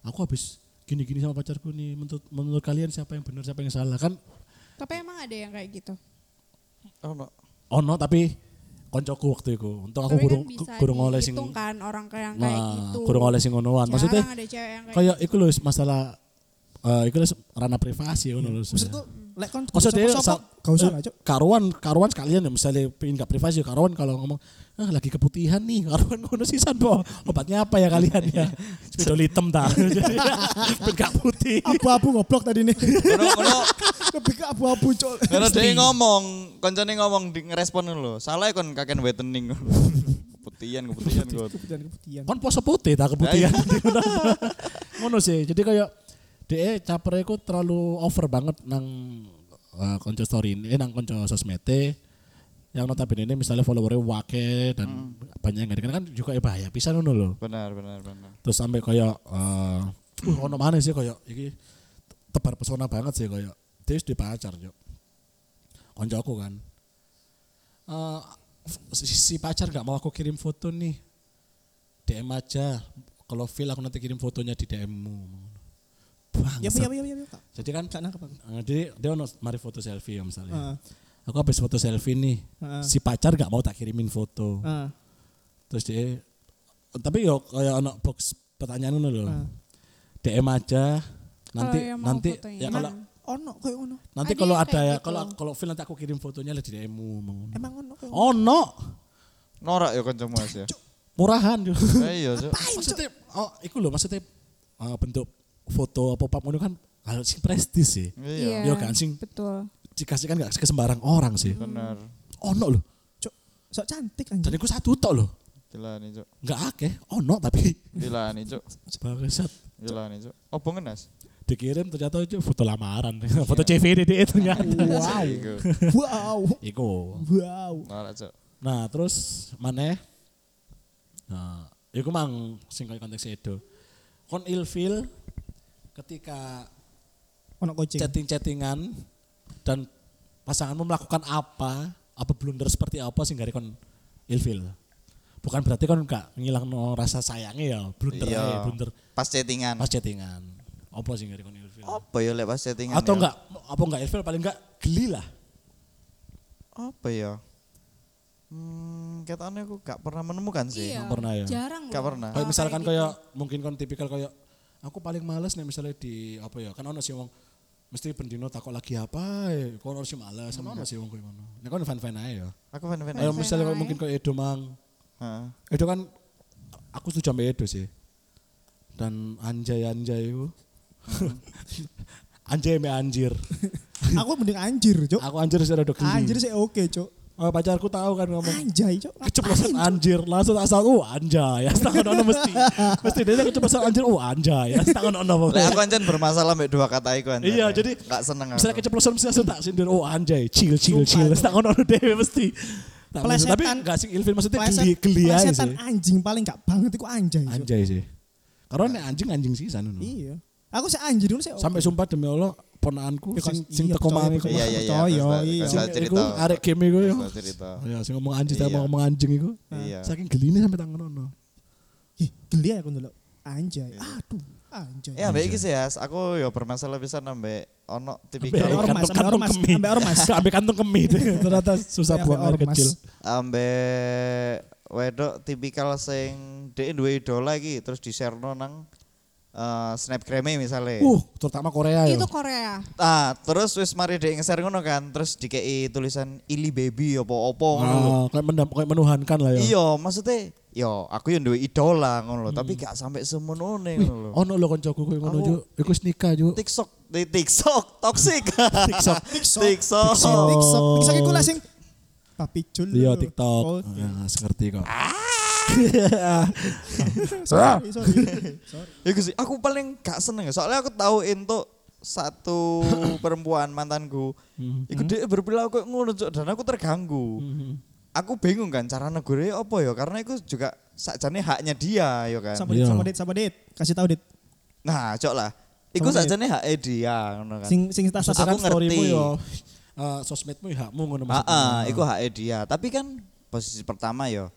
Speaker 3: aku habis gini-gini sama pacarku nih menurut menurut kalian siapa yang benar siapa yang salah kan
Speaker 1: Tapi emang ada yang kayak gitu.
Speaker 2: Oh, no.
Speaker 3: ono tapi koncoku waktu itu. Untuk aku
Speaker 1: Tapi
Speaker 3: gurung
Speaker 1: kan bisa
Speaker 3: gurung oleh sing
Speaker 1: dihitung kan orang kayak yang kayak
Speaker 3: nah,
Speaker 1: gitu.
Speaker 3: gurung oleh sing ngonoan. Maksudnya
Speaker 1: Jarang ada cewek yang kayak gitu.
Speaker 3: kayak iku lho masalah eh iku lho ranah privasi ngono lho.
Speaker 4: Maksudku lek kon
Speaker 3: Maksud dia
Speaker 4: sapa-sapa,
Speaker 3: sa- eh,
Speaker 4: gak usah lah, Cuk.
Speaker 3: karuan karuan sekalian ya misalnya pingin gak privasi karuan kalau ngomong ah lagi keputihan nih karuan ngono sisan po obatnya apa ya kalian ya spidol hitam ta Jadi, ben gak putih
Speaker 4: Abu-abu goblok tadi nih.
Speaker 2: Ngono ngono
Speaker 4: Lebih ke abu-abu, Cuk.
Speaker 2: ngono dhewe ngomong, koncone ngomong di ngerespon ngono lho. Salah kon kakek wetening. Keputihan keputihan gue.
Speaker 4: Keputihan-keputihan.
Speaker 3: kon poso putih tak keputihan ngono sih jadi kayak de capre ku terlalu over banget nang eh, konco story ini eh, nang konco sosmete yang notabene ini misalnya followernya wake dan banyak yang gak dikenal kan juga eh, bahaya pisan ngono lho
Speaker 2: Benar benar benar.
Speaker 3: terus sampai kayak eh uh, ono mana sih kayak iki tebar pesona banget sih kayak dia di pacar yuk konco aku kan Eh si, si pacar gak mau aku kirim foto nih DM aja kalau feel aku nanti kirim fotonya di DM mu bang
Speaker 4: Ya, ya, ya, ya, ya.
Speaker 3: jadi kan
Speaker 4: Gak Ah. nangkep aku.
Speaker 3: eh, jadi dia ono mari foto selfie ya misalnya
Speaker 4: Heeh.
Speaker 3: aku habis foto selfie nih
Speaker 4: Heeh.
Speaker 3: si pacar gak mau tak kirimin foto
Speaker 4: Heeh.
Speaker 3: terus dia tapi yo kayak ono box pertanyaan ngono lho.
Speaker 4: Ah.
Speaker 3: DM aja nanti
Speaker 1: Kalau yang Oh, iya, mau
Speaker 3: nanti
Speaker 1: fotonya.
Speaker 3: ya kalau
Speaker 4: Ono koyo ono.
Speaker 3: nanti
Speaker 1: Ada
Speaker 3: kalau
Speaker 1: yang
Speaker 3: ada
Speaker 1: kayak
Speaker 3: ya
Speaker 1: gitu.
Speaker 3: kalau kalau feel nanti aku kirim fotonya lah di DM mu
Speaker 4: Emang ono koyo ono.
Speaker 3: Oh no,
Speaker 2: Norak ya kancamu Mas ya.
Speaker 3: murahan yo.
Speaker 2: Eh, Iya, Cuk.
Speaker 3: maksudnya oh iku lho maksudnya eh, bentuk foto apa pap ngono kan hal sing prestis sih.
Speaker 2: Iya.
Speaker 3: Yo kan sing
Speaker 1: Betul.
Speaker 3: dikasih kan gak ke sembarang orang sih.
Speaker 2: Benar.
Speaker 3: Ono lho.
Speaker 4: Cuk, sok cantik
Speaker 3: Dan
Speaker 4: anjir.
Speaker 3: iku satu tok lho.
Speaker 2: Dilani, Cuk.
Speaker 3: Enggak akeh, ono tapi
Speaker 2: Dilani, Cuk.
Speaker 3: bangsat
Speaker 2: Dilani, Cuk. Opo ngenes?
Speaker 3: dikirim ternyata itu foto lamaran, foto CV DDE E ternyata.
Speaker 4: Wow.
Speaker 2: Iku.
Speaker 4: Wow.
Speaker 3: Iku.
Speaker 4: Wow.
Speaker 2: Norak, Cuk.
Speaker 3: Nah terus mana? Nah, itu mang sing kaya konteks itu. Kon ilfil ketika
Speaker 4: Ono kucing.
Speaker 3: chatting-chattingan dan pasanganmu melakukan apa, apa blunder seperti apa sing gak kon ilfil. Bukan berarti kon gak ngilang rasa sayangnya ya, blunder
Speaker 2: Iya.
Speaker 3: aja, blunder
Speaker 2: Pas chattingan.
Speaker 3: pas chattingan. Apa sing gak kon ilfil?
Speaker 2: Apa ya lek pas chattingan?
Speaker 3: Atau
Speaker 2: ya?
Speaker 3: enggak, apa enggak ilfil paling enggak geli lah.
Speaker 2: Apa ya? Hmm, katanya aku gak pernah menemukan sih.
Speaker 1: Iya.
Speaker 3: pernah ya?
Speaker 1: Jarang.
Speaker 2: Gak
Speaker 1: loh.
Speaker 2: pernah.
Speaker 3: Kayak
Speaker 1: Hal
Speaker 3: misalkan
Speaker 1: Ah, kayak gitu.
Speaker 3: kayak mungkin kon tipikal kayak aku paling males nih misalnya di apa ya kan ono sih wong mesti pendino takok lagi apa ya kon harus males sama ono sih wong koyo ngono. Nek kon fan-fan ae ya.
Speaker 2: Aku fan-fan. aja.
Speaker 3: Kayak misalnya kayak mungkin kayak Edo mang.
Speaker 2: Heeh.
Speaker 3: Edo kan aku setuju sama Edo sih. Dan anjay-anjay itu. anjay me anjir.
Speaker 4: Aku mending anjir, Cuk.
Speaker 3: Aku anjir sih rada geli.
Speaker 4: Anjir sih oke, Cuk.
Speaker 3: Oh, pacarku tahu kan ngomong
Speaker 4: Anjay, Cuk.
Speaker 3: keceplosan anjir langsung tak saut oh anjay ya setahun ono mesti mesti dia keceplosan anjir oh anjay ya setahun ono
Speaker 2: Lek aku anjen bermasalah mbek dua kata iku anjen.
Speaker 3: Iya, jadi
Speaker 2: gak seneng aku.
Speaker 3: misalnya keceplosan mesti langsung tak sindir oh anjay chill chill
Speaker 4: Sumpah,
Speaker 3: chill
Speaker 4: itu.
Speaker 3: tak ono dewe mesti tak mesti. tapi
Speaker 4: Plesetan-
Speaker 3: gak sing ilfil maksudnya geli
Speaker 4: Pleset-
Speaker 3: geli aja
Speaker 4: plesetan
Speaker 3: sih
Speaker 4: anjing paling gak banget iku anjay, Cuk.
Speaker 3: anjay sih karena nek anjing anjing sih sana
Speaker 4: Iya. Aku sih anjir dulu sih. oke.
Speaker 3: sampai sumpah demi Allah ponaanku
Speaker 4: Iya,
Speaker 3: sing
Speaker 4: kos-
Speaker 3: sing
Speaker 4: iya,
Speaker 3: teko
Speaker 4: percaya,
Speaker 3: mami
Speaker 4: percaya.
Speaker 3: kok.
Speaker 2: Iya, iya, iya.
Speaker 4: Percaya,
Speaker 2: terus tak-
Speaker 4: iya.
Speaker 2: terus
Speaker 3: Sing
Speaker 2: tak
Speaker 3: iku
Speaker 2: cerita.
Speaker 3: arek game iku ya
Speaker 2: Terus tak cerita.
Speaker 3: ya sing ngomong anjing tak
Speaker 2: Iya.
Speaker 3: ngomong anjing iku
Speaker 2: Iya.
Speaker 3: saking geline sampai tak ngono
Speaker 4: Ih, geli aku ndelok. Anjay.
Speaker 3: Iya.
Speaker 4: Aduh, anjay.
Speaker 2: Ya, mbek iki sih Yas. aku ya bermasalah pisan ambek ono
Speaker 3: Sampai
Speaker 2: tipikal
Speaker 4: Ambek ormas,
Speaker 3: kantung kantung
Speaker 4: ormas,
Speaker 3: kemi
Speaker 4: ambek ormas.
Speaker 3: sampai kantung kemi ternyata susah
Speaker 4: Sampai
Speaker 3: buang air
Speaker 4: ormas.
Speaker 3: kecil
Speaker 2: ambek wedok tipikal sing dhek duwe idola iki terus di-shareno nang eh, snapgrame misalnya.
Speaker 3: uh terutama Korea ya
Speaker 1: Itu Korea.
Speaker 2: Ah, terus wis mari dhek nge-share ngono kan, terus dikei tulisan ili baby apa-apa ngono lho.
Speaker 3: Ah, kayak mendam kayak menuhankan lah ya
Speaker 2: Iya, maksudnya yo aku yang duwe idola ngono lho,
Speaker 3: Hmm.
Speaker 2: tapi gak sampai semenone ngono lho.
Speaker 3: Ono lho Oh, koncoku kowe ngono
Speaker 2: Aku-
Speaker 3: juk. Iku nikah juk.
Speaker 2: TikTok, di TikTok, toxic.
Speaker 3: TikTok.
Speaker 2: TikTok.
Speaker 4: TikTok. TikTok. TikTok iku lah sing Papi Jul.
Speaker 3: Iya
Speaker 4: lho.
Speaker 3: TikTok.
Speaker 4: Oh,
Speaker 3: Ya, ngerti kok. Ah.
Speaker 4: Sorry, sorry. Sorry.
Speaker 2: Iku sih, Ya, aku paling gak seneng ya, soalnya aku tahu entuk satu perempuan mantanku.
Speaker 4: Mhm.
Speaker 2: Iku dia berperilaku kayak ngono Cuk, dan aku terganggu. Aku bingung kan cara negure apa ya karena itu juga sakjane haknya dia ya kan.
Speaker 4: Sama
Speaker 3: Iya.
Speaker 4: dit, sama dit, sama dit. Kasih tahu dit.
Speaker 2: Nah, cok lah. Iku
Speaker 4: Sama ya?
Speaker 2: sakjane hake dia ngono kan.
Speaker 4: Sing sing tas
Speaker 2: Aku ngerti.
Speaker 3: storymu yo. eh, sosmedmu ya hakmu ngono Ah,
Speaker 2: Heeh,
Speaker 3: maksudnya.
Speaker 2: Ah, iku hake dia. Tapi kan posisi pertama ya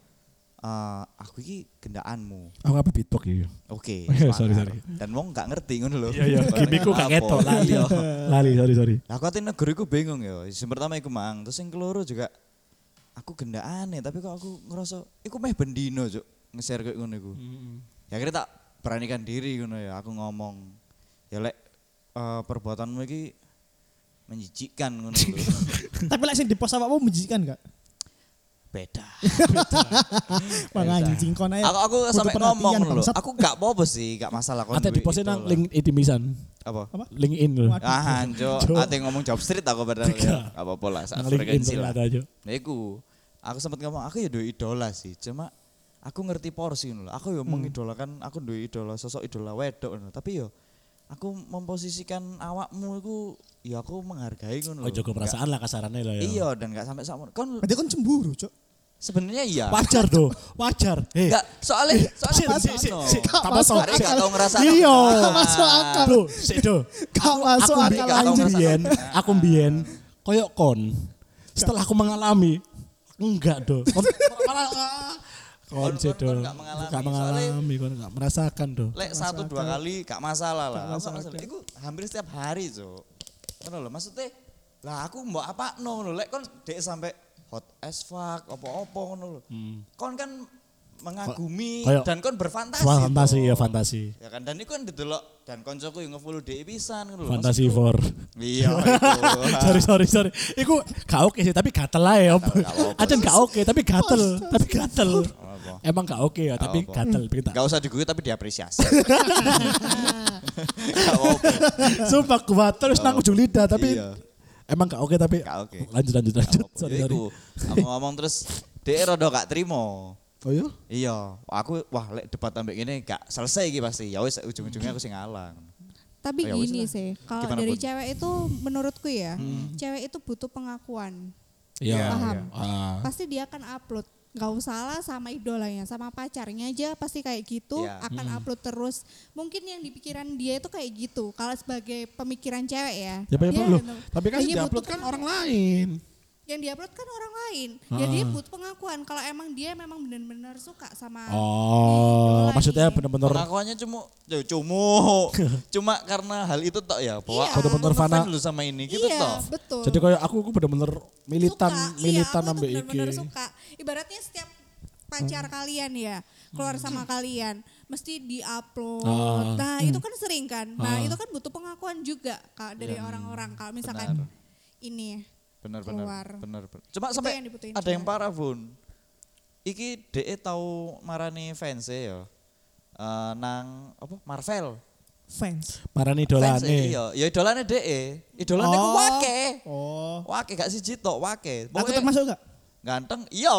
Speaker 2: eh, aku iki gendaanmu.
Speaker 3: Aku apa beatbox ya.
Speaker 2: Oke. semangat.
Speaker 3: Iya, sorry, sorry.
Speaker 2: Dan wong gak ngerti ngono lho.
Speaker 3: Iya iya, gimmickku gak
Speaker 2: Apa?
Speaker 3: ketok lali.
Speaker 2: Iya.
Speaker 3: Lali sorry sorry.
Speaker 2: Lah aku ati negeri ku bingung ya. Sing pertama iku mang, terus sing keloro juga aku gendak aneh tapi kok aku ngerasa iku meh bendino cuk nge-share kayak ngono iku ya akhirnya tak beranikan diri ngono ya aku ngomong ya lek eh, perbuatanmu iki menjijikkan ngono lho
Speaker 4: Tapi lek sing di pos awakmu menjijikan gak?
Speaker 2: beda
Speaker 3: Iya,
Speaker 4: Wah anjing kon ae.
Speaker 2: aku aku
Speaker 4: butuh
Speaker 2: sampai
Speaker 4: Eh, perhatian,
Speaker 2: ngomong ngono lho
Speaker 4: bangsat.
Speaker 2: aku gak apa-apa sih gak masalah kon
Speaker 3: Ate
Speaker 2: duwe
Speaker 3: di posnya
Speaker 2: itu
Speaker 3: nang
Speaker 2: lho.
Speaker 3: link itimisan,
Speaker 2: apa
Speaker 4: Apa?
Speaker 3: link in lho.
Speaker 4: Waduh.
Speaker 2: ah anjo
Speaker 3: Cuk.
Speaker 2: ate ngomong job street aku padahal ya
Speaker 3: Tiga.
Speaker 2: gak apa-apa lah saat
Speaker 3: Nang link in
Speaker 2: frekuensi lah
Speaker 3: ternyata aja.
Speaker 2: Nah, iku. Aku sempat ngomong aku ya duwe idola sih, cuma aku ngerti porsi ngono lho. Aku
Speaker 3: Hmm.
Speaker 2: ya mengidolakan, aku duwe idola sosok idola wedok ngono, tapi ya aku memposisikan awakmu iku ya aku menghargai ngono lho.
Speaker 3: Oh jago
Speaker 2: Nggak-
Speaker 3: perasaan lah kasarannya lah ya.
Speaker 2: Iya, dan gak sampai sama. Kon
Speaker 4: Berarti kon cemburu, Cuk.
Speaker 2: sebenarnya iya.
Speaker 3: Wajar tuh, wajar. Hei,
Speaker 2: Enggak,
Speaker 3: Eh,
Speaker 2: soalnya soalnya
Speaker 3: Sik,
Speaker 2: pasti
Speaker 3: sik, sik,
Speaker 2: ono.
Speaker 3: sik.
Speaker 4: Gak
Speaker 3: Tambah
Speaker 4: masuk
Speaker 3: sok.
Speaker 2: Hari gak
Speaker 4: akal.
Speaker 2: tau ngerasa
Speaker 4: Iya,
Speaker 2: kebenaran.
Speaker 4: masuk akal.
Speaker 3: Duh, sik duh.
Speaker 4: Gak masuk
Speaker 3: aku
Speaker 4: akal
Speaker 2: Gak tau
Speaker 3: aku
Speaker 4: anjing.
Speaker 2: ngerasa
Speaker 3: mbien,
Speaker 2: kebenaran.
Speaker 3: aku mbien koyok kon. Setelah aku mengalami enggak do. Kon malah ah,
Speaker 2: Kon-
Speaker 3: kon
Speaker 2: kon-
Speaker 3: sih do.
Speaker 2: kon gak mengalami,
Speaker 3: Gak mengalami, kon gak merasakan do.
Speaker 2: Lek satu dua kali gak masalah lah. Gak masalah. Iku hampir setiap hari, Cuk. Ngono lho, maksudnya lah aku mbok apakno ngono. Lek kon dek sampai hot as fuck apa-apa ngono lho. Kon kan mengagumi
Speaker 3: Hmm. Kayak-
Speaker 2: dan kon berfantasi.
Speaker 3: Wah, fantasi
Speaker 2: toh.
Speaker 3: ya fantasi.
Speaker 2: Ya kan dan iku kan didelok dan koncoku yang nge-follow dhek pisan ngono lho.
Speaker 3: Fantasi
Speaker 2: Maksudku-
Speaker 3: for.
Speaker 2: Iya, itu.
Speaker 3: sorry sorry sorry. Iku gak oke sih tapi gatel lah ya.
Speaker 2: apa-apa.
Speaker 3: Aja gak oke tapi gatel, tapi gatel.
Speaker 2: apa-apa.
Speaker 3: Emang gak oke ya tapi
Speaker 2: apa-apa.
Speaker 3: gatel bikin tak-
Speaker 2: Gak usah diguyu tapi diapresiasi. Gak apa-apa.
Speaker 3: Sumpah gua terus nang ujung lidah tapi
Speaker 2: Iya.
Speaker 3: emang gak oke tapi
Speaker 2: Gak oke.
Speaker 3: lanjut lanjut lanjut.
Speaker 2: Apa?
Speaker 3: Sorry
Speaker 2: Ya
Speaker 3: sorry.
Speaker 2: iku, aku ngomong terus dhek rada gak trimo.
Speaker 3: Oh iya?
Speaker 2: Iya, aku wah lek debat ambek ngene gak selesai iki pasti. Ya wis ujung-ujungnya aku sing ngalah.
Speaker 1: Tapi
Speaker 3: Oh,
Speaker 2: Ya, wis
Speaker 1: gini
Speaker 2: lah.
Speaker 1: sih, kalau
Speaker 2: Gimana,
Speaker 1: dari
Speaker 2: Bun?
Speaker 1: cewek itu menurutku ya,
Speaker 3: Hmm.
Speaker 1: cewek itu butuh pengakuan.
Speaker 3: Iya.
Speaker 1: Paham.
Speaker 3: Ah.
Speaker 1: Pasti dia akan upload. Gak usah lah sama idolanya, sama pacarnya aja pasti kayak gitu
Speaker 3: Ya.
Speaker 2: Iya.
Speaker 1: akan
Speaker 3: Hmm.
Speaker 1: upload terus. Mungkin yang di pikiran dia itu kayak gitu. Kalau sebagai pemikiran cewek ya.
Speaker 3: Ya, Pak,
Speaker 1: dia
Speaker 3: loh,
Speaker 1: akan-
Speaker 3: tapi kan
Speaker 1: Iya,
Speaker 3: yang
Speaker 1: butuh
Speaker 3: diupload kan
Speaker 1: pengakuan.
Speaker 3: orang lain.
Speaker 1: yang diupload kan orang lain. Jadi dia butuh pengakuan kalau emang dia memang benar-benar suka sama
Speaker 3: Oh,
Speaker 1: Iya,
Speaker 3: maksudnya
Speaker 1: iya.
Speaker 3: benar-benar
Speaker 2: Pengakuannya cuma ya cuma cuma karena hal itu tok ya bahwa
Speaker 1: Iya.
Speaker 2: aku
Speaker 1: Bener-bener
Speaker 2: ngefans
Speaker 3: fana.
Speaker 2: dulu sama ini gitu
Speaker 1: Iya,
Speaker 2: tok.
Speaker 1: betul.
Speaker 3: jadi kayak aku aku benar-benar militan
Speaker 1: Suka,
Speaker 3: militan
Speaker 1: iya, aku
Speaker 3: ambek
Speaker 1: tuh
Speaker 3: iki.
Speaker 1: bener-bener suka. Ibaratnya setiap pacar kalian ya keluar sama kalian mesti diupload.
Speaker 3: Ah.
Speaker 1: Nah itu kan sering kan. Nah
Speaker 3: Ah. Iya.
Speaker 1: itu kan butuh pengakuan juga Kak, dari orang-orang kalau misalkan
Speaker 2: Benar.
Speaker 1: ini
Speaker 2: Bener bener.
Speaker 1: Keluar.
Speaker 2: Bener bener. Cuma
Speaker 1: Itu
Speaker 2: sampai
Speaker 1: yang dibutuhin
Speaker 2: ada yang
Speaker 1: cewek.
Speaker 2: parah, Bun. Iki dhek tahu marani fans ya. Eh, nang apa Marvel.
Speaker 4: Fans.
Speaker 3: Marani
Speaker 2: Fans
Speaker 3: dolane.
Speaker 2: iya, ya idolane dhek. Idolane ku
Speaker 4: Oh.
Speaker 2: wake.
Speaker 4: Oh.
Speaker 2: Wake gak siji tok, wake.
Speaker 4: Aku
Speaker 2: Pokoknya-
Speaker 4: termasuk gak?
Speaker 2: Ganteng, iya.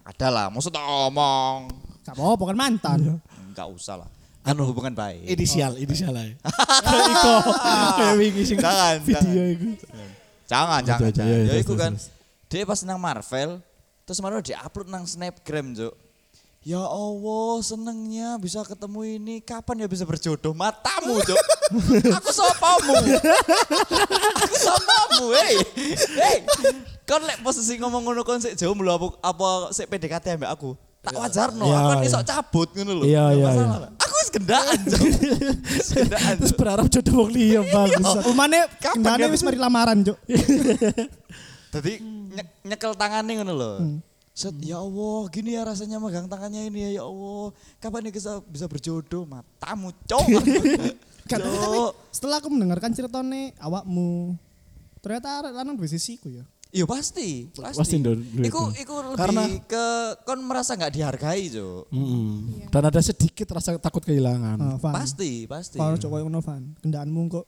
Speaker 2: Ada lah, maksud tak omong.
Speaker 4: Gak apa-apa kan mantan.
Speaker 2: Iya. Enggak usah lah. Kan hubungan baik.
Speaker 3: Inisial, inisial ae. Kayak Iko, kayak wingi sing
Speaker 2: Jangan,
Speaker 3: video
Speaker 2: jangan.
Speaker 3: iku.
Speaker 2: Jangan,
Speaker 3: Aduh,
Speaker 2: jangan,
Speaker 3: aduh,
Speaker 2: jangan.
Speaker 3: iya,
Speaker 2: Ya
Speaker 3: terus,
Speaker 2: iku
Speaker 3: terus,
Speaker 2: kan.
Speaker 3: terus.
Speaker 2: Dia pas nang Marvel, terus Marvel diupload nang Snapgram, Cuk. Ya Allah, senengnya bisa ketemu ini. Kapan ya bisa berjodoh matamu, Cuk? Aku sopamu. Aku sopamu, hei. Hei. Kon lek posisi ngomong ngono kon sik jauh mulu apa apa sik PDKT ambek aku. Tak wajarno,
Speaker 3: Iya,
Speaker 2: aku kan
Speaker 3: iya.
Speaker 2: iso cabut ngono lho.
Speaker 3: Iya,
Speaker 2: Nggak
Speaker 3: iya,
Speaker 2: masalah
Speaker 3: iya.
Speaker 2: lah. Aku wis gendaan, Cuk. Wis gendaan.
Speaker 3: Terus
Speaker 2: Cuk.
Speaker 3: berharap jodoh wong
Speaker 2: Iya.
Speaker 3: liya bagus.
Speaker 4: Umane
Speaker 2: Kapan Iya.
Speaker 4: kendane
Speaker 2: dia-
Speaker 4: wis mari lamaran, Cuk.
Speaker 2: Tadi
Speaker 4: Hmm.
Speaker 2: nye- nyekel tangannya ngono loh. Set, ya Allah, gini ya rasanya megang tangannya ini ya, ya Allah. Kapan nih bisa, bisa berjodoh? Matamu, cok.
Speaker 4: Gak tahu, tapi
Speaker 2: Cok.
Speaker 4: setelah aku mendengarkan ceritane awakmu. Ternyata arek lanang duwe sisiku ya.
Speaker 2: Iya pasti, pasti.
Speaker 3: Pasti ndo- ndo-
Speaker 2: Iku, iku lebih
Speaker 3: Karena-
Speaker 2: ke, kon merasa nggak dihargai, cok.
Speaker 3: Mm-mm. Dan ada sedikit rasa takut kehilangan.
Speaker 2: Oh.
Speaker 4: Ah, Van.
Speaker 2: Hmm. Pasti, pasti.
Speaker 4: Kalau cowok yang ngono Van, kendaanmu kok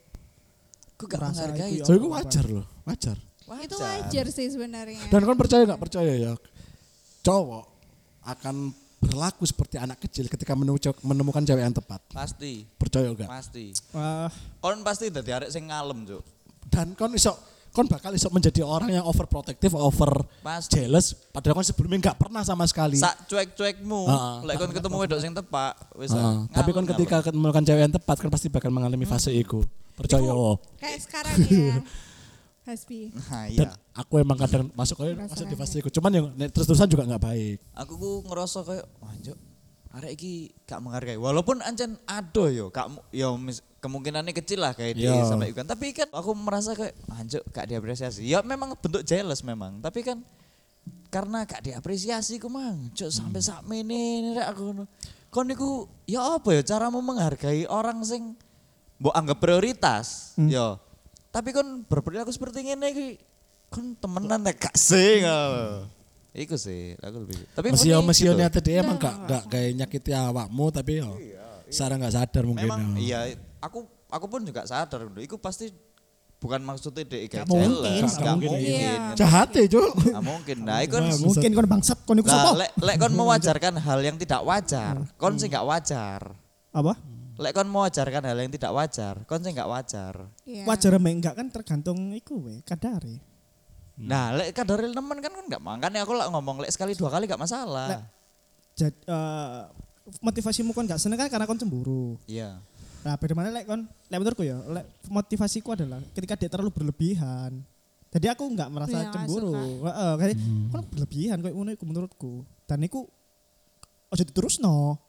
Speaker 2: Aku gak
Speaker 4: merasa
Speaker 2: menghargai,
Speaker 4: itu
Speaker 2: Cok.
Speaker 3: So itu wajar loh, wajar.
Speaker 1: itu wajar sih sebenarnya.
Speaker 3: Dan kan percaya nggak percaya ya cowok akan berlaku seperti anak kecil ketika menemu- menemukan cewek yang tepat.
Speaker 2: Pasti,
Speaker 3: Percaya nggak?
Speaker 2: pasti.
Speaker 4: wah
Speaker 2: Kon pasti dari arek sing ngalem, cok.
Speaker 3: Dan kon iso kon bakal iso menjadi orang yang overprotective, over
Speaker 2: Pasti.
Speaker 3: jealous padahal kon sebelumnya nggak pernah sama sekali.
Speaker 2: Sak cuek-cuekmu,
Speaker 3: Ah, ah.
Speaker 2: lek kon ketemu wedok sing tepak, wis
Speaker 3: Ah,
Speaker 2: lah,
Speaker 3: tapi kon
Speaker 2: ngalem-ngalem.
Speaker 3: ketika menemukan cewek yang tepat kan pasti bakal mengalami
Speaker 2: Hmm.
Speaker 3: fase itu. Percaya. oh.
Speaker 1: Kayak sekarang
Speaker 3: Iya.
Speaker 1: ya. Hasbi.
Speaker 2: Nah, iya.
Speaker 3: Dan aku emang kadang masuk kayak masuk di fase itu. Cuman yang terus-terusan juga nggak baik.
Speaker 2: aku ku ngerasa kayak wah Cuk, arek iki gak menghargai walaupun ancen adoh yo gak mu- yo mis- kemungkinannya kecil lah kayak dia
Speaker 3: Yo.
Speaker 2: sampai ikan tapi kan aku merasa kayak anjuk gak diapresiasi ya memang bentuk jealous memang tapi kan karena gak diapresiasi ku mang cuk sampai
Speaker 3: Hmm.
Speaker 2: saat ini rek aku ngono kon niku ya apa ya caramu menghargai orang sing mbok anggap prioritas
Speaker 3: Hmm.
Speaker 2: yo tapi kon berperilaku seperti ngene iki kon temenan nek gak sing ngono. iku sih aku lebih tapi
Speaker 3: Masih yo
Speaker 2: murni
Speaker 3: masih ya yo
Speaker 2: gitu.
Speaker 3: niate dia emang gak gak kayak nyakiti awakmu tapi yo secara gak sadar mungkin.
Speaker 2: Iya,
Speaker 3: oh.
Speaker 2: memang
Speaker 3: yo.
Speaker 2: iya aku aku pun juga sadar dulu itu pasti bukan maksudnya dek gak
Speaker 4: mungkin,
Speaker 2: jelas
Speaker 4: gak
Speaker 2: gak
Speaker 4: mungkin.
Speaker 2: mungkin
Speaker 3: Jahat ya, Cuk.
Speaker 2: gak mungkin nah itu kan
Speaker 4: Mungkin kon bangsat kon iku
Speaker 2: lah
Speaker 4: sapa?
Speaker 2: lek lek kon mewajarkan hal yang tidak wajar kon sih gak wajar
Speaker 4: Apa?
Speaker 2: lek kon mewajarkan hal yang tidak wajar kon sih gak wajar
Speaker 1: Iya.
Speaker 4: Wajar mek enggak kan tergantung iku we, kadare.
Speaker 2: nah lek kadar temen kan kon gak makanya aku lah ngomong lek sekali dua kali gak masalah
Speaker 4: Lek- Jadi eh, motivasimu kon gak seneng kan karena kon cemburu.
Speaker 2: iya
Speaker 4: Nah, beda mana lek kon, lek menurutku ya, lek motivasiku adalah ketika dia terlalu berlebihan. Jadi aku nggak merasa
Speaker 1: Iya, nggak
Speaker 4: cemburu. Heeh, kan kon berlebihan koyo ngono iku menurutku. Dan iku aja diterusno.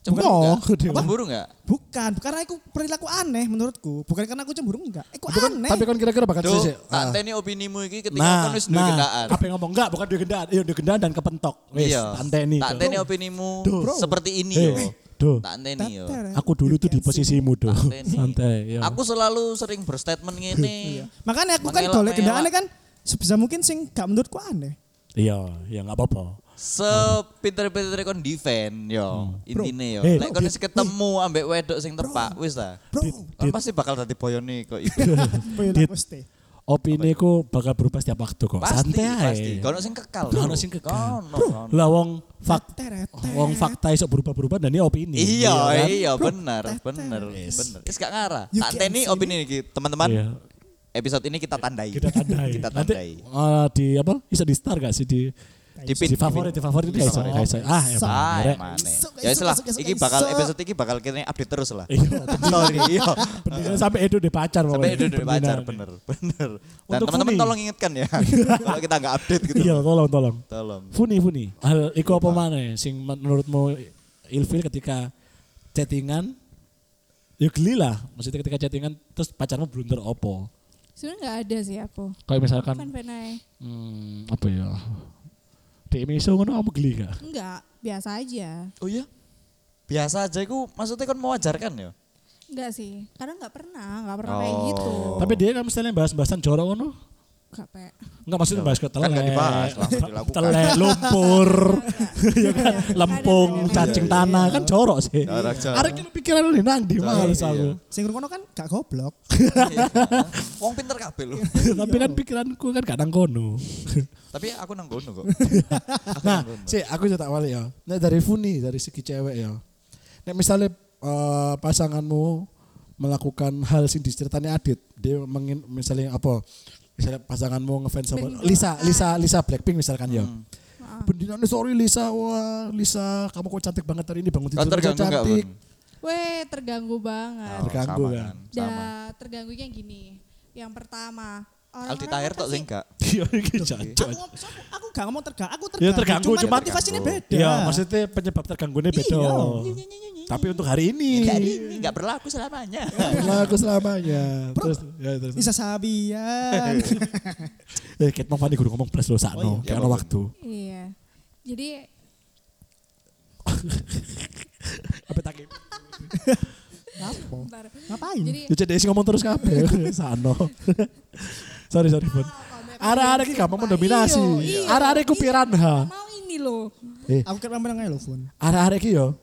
Speaker 2: cemburu
Speaker 4: Bukan.
Speaker 2: gak
Speaker 4: Apa?
Speaker 2: cemburu gak
Speaker 4: Bukan, karena aku perilaku aneh menurutku. Bukan karena aku cemburu enggak. Aku aneh.
Speaker 3: Tapi kan kira-kira bakal
Speaker 2: Duh,
Speaker 3: sih. Ah. eh,
Speaker 2: tak teni opinimu iki ketika
Speaker 3: Nah,
Speaker 2: kon wis duwe
Speaker 3: nah,
Speaker 2: kendaan.
Speaker 3: apa yang ngomong enggak bukan duwe gendaan, iya duwe gendaan dan kepentok. Wis,
Speaker 2: Iya.
Speaker 3: tak enteni.
Speaker 2: Tak
Speaker 3: Cuk.
Speaker 2: teni opinimu
Speaker 3: Duh.
Speaker 2: seperti ini
Speaker 3: Eh,
Speaker 2: yo.
Speaker 3: Duh,
Speaker 2: Tak enteni yo.
Speaker 4: Tetere.
Speaker 3: aku dulu tuh
Speaker 2: Iya,
Speaker 3: di posisimu tuh.
Speaker 2: Santai nih.
Speaker 3: Santai, iya. yo.
Speaker 2: Aku selalu sering berstatement ngene.
Speaker 4: Makanya aku kan
Speaker 2: Makanya
Speaker 4: golek
Speaker 2: lek-
Speaker 4: kendalanya kan sebisa mungkin sing gak menurutku aneh.
Speaker 3: Iya, ya enggak apa-apa.
Speaker 2: Sepinter-pintere kon defend yo. Intine yo.
Speaker 3: Eh,
Speaker 2: Lek
Speaker 3: bro,
Speaker 2: kon wis ketemu ambek wedok sing tepak wis ta.
Speaker 4: Bro,
Speaker 2: Kon pasti bakal dadi boyone kok iku.
Speaker 4: perilaku ste.
Speaker 3: Opini ku bakal berubah setiap waktu kok.
Speaker 2: Pasti,
Speaker 3: Santai ae.
Speaker 2: pasti. Kono sing kekal.
Speaker 3: Gak ono sing kekal.
Speaker 2: Kono, kono.
Speaker 3: Lah wong fakta
Speaker 4: Teret.
Speaker 3: wong fakta iso berubah-berubah dan ini opini.
Speaker 2: Iya,
Speaker 3: kan?
Speaker 2: iya bener, bener, bener. Wis gak ngarah.
Speaker 4: You
Speaker 2: Tak
Speaker 4: can
Speaker 2: teni
Speaker 4: see
Speaker 2: opini iki,
Speaker 3: Iya.
Speaker 2: teman-teman. Episode ini kita tandai.
Speaker 3: Kita tandai.
Speaker 2: Kita
Speaker 3: Nanti,
Speaker 2: tandai.
Speaker 3: eh, di apa? Bisa di star gak sih di
Speaker 2: Di pin,
Speaker 3: di favorit, di favorit guys.
Speaker 2: favorit.
Speaker 3: Guys, ah, ya,
Speaker 2: Ah,
Speaker 3: bener.
Speaker 2: emang
Speaker 4: Esok,
Speaker 2: Ya wis
Speaker 4: esok,
Speaker 2: lah,
Speaker 4: esok, esok,
Speaker 2: iki bakal
Speaker 4: esok.
Speaker 2: episode iki bakal kene update terus lah.
Speaker 3: Iya,
Speaker 2: Sorry, iya.
Speaker 3: bener. sampai Edo deh pacar
Speaker 2: Sampai
Speaker 3: pokoknya.
Speaker 2: itu udah pacar,
Speaker 3: Bener.
Speaker 2: bener, bener. Dan
Speaker 3: Untuk
Speaker 2: teman-teman
Speaker 3: Funi.
Speaker 2: tolong ingatkan ya, kalau kita nggak update gitu.
Speaker 3: Iya, tolong tolong.
Speaker 2: Tolong.
Speaker 3: Funi Funi. Hal iku apa maneh sing menurutmu ilfil ketika chattingan ya geli lah maksudnya ketika chattingan terus pacarmu blunder opo
Speaker 1: Sebenarnya nggak ada sih aku.
Speaker 3: kayak
Speaker 1: Kan
Speaker 3: misalkan
Speaker 1: pernah
Speaker 3: hmm, apa ya DM iso ngono kamu geli gak
Speaker 1: enggak, biasa aja.
Speaker 2: Oh iya? Biasa aja, aku maksudnya kan mewajarkan ya.
Speaker 1: Enggak sih, karena nggak pernah, nggak pernah kayak
Speaker 2: Oh.
Speaker 1: gitu.
Speaker 3: tapi dia kan misalnya bahas-bahasan jorok ngono
Speaker 1: Nggak pe-
Speaker 3: enggak maksudnya bahas ke
Speaker 2: Kan
Speaker 3: telek
Speaker 2: nggak dibahas, langsung dilakukan.
Speaker 3: telek lumpur ya kan lempung
Speaker 1: Kadang-kadang.
Speaker 3: cacing tanah kan jorok sih
Speaker 2: Iya, Jorok, jorok.
Speaker 3: arek kan pikiran lu nang di
Speaker 2: Jorok,
Speaker 3: males
Speaker 2: iya.
Speaker 3: aku
Speaker 4: Sing ngono kan gak goblok.
Speaker 2: Iya. Wong pinter kabeh lu.
Speaker 3: tapi kan pikiranku kan kadang kono
Speaker 2: Tapi aku nang kono kok.
Speaker 3: nah, sih aku juga tak balik ya. Nah, dari Funi, dari segi cewek ya. Nah, misalnya eh, pasanganmu melakukan hal sing diceritani Adit, dia mengin, misalnya apa? Misalnya pasanganmu ngefans sama Lisa, Lisa, Lisa Blackpink misalkan ya. Bendinane sorry Lisa, wah Lisa, kamu kok cantik banget hari ini bangun tidur
Speaker 2: Kau
Speaker 3: aja
Speaker 2: terganggu nggak
Speaker 3: cantik.
Speaker 2: Bun?
Speaker 1: Weh, terganggu banget.
Speaker 3: Terganggu
Speaker 2: sama
Speaker 3: kan.
Speaker 2: Sama.
Speaker 1: Da, terganggunya gini. Yang pertama, orang-orang
Speaker 2: Aldi Tahir
Speaker 1: kan
Speaker 2: tok
Speaker 1: pasti-
Speaker 2: sih enggak.
Speaker 3: Iya, iki jancuk.
Speaker 4: Aku, ngom- aku gak ngomong terganggu, aku terganggu.
Speaker 3: Ya, terganggu,
Speaker 4: cuman
Speaker 3: cuman-
Speaker 4: motivasinya beda.
Speaker 3: Iya, maksudnya penyebab terganggunya beda.
Speaker 4: Iya.
Speaker 3: Tapi untuk hari ini.
Speaker 2: Enggak ini enggak berlaku selamanya.
Speaker 3: Laku Iya. Nah, selamanya. Terus, ya, terus.
Speaker 4: Bisa sabian.
Speaker 3: Eh, Kate Novani kudu ngomong plus lo sakno,
Speaker 2: Oh iya.
Speaker 3: karena
Speaker 2: Ya,
Speaker 3: waktu.
Speaker 1: Iya. Jadi
Speaker 3: Apa tak?
Speaker 4: Apa?
Speaker 1: bentar.
Speaker 4: Ngapain?
Speaker 1: Jadi
Speaker 3: Ya cedek sih ngomong terus kabeh sakno. sorry sorry pun. Arah-arah ki gampang mendominasi.
Speaker 1: Iya, iya.
Speaker 3: Arah-arah ku piranha.
Speaker 1: mau ini loh.
Speaker 3: Eh,
Speaker 4: aku kan menang aja lho, Fun.
Speaker 3: arah-arah ki yo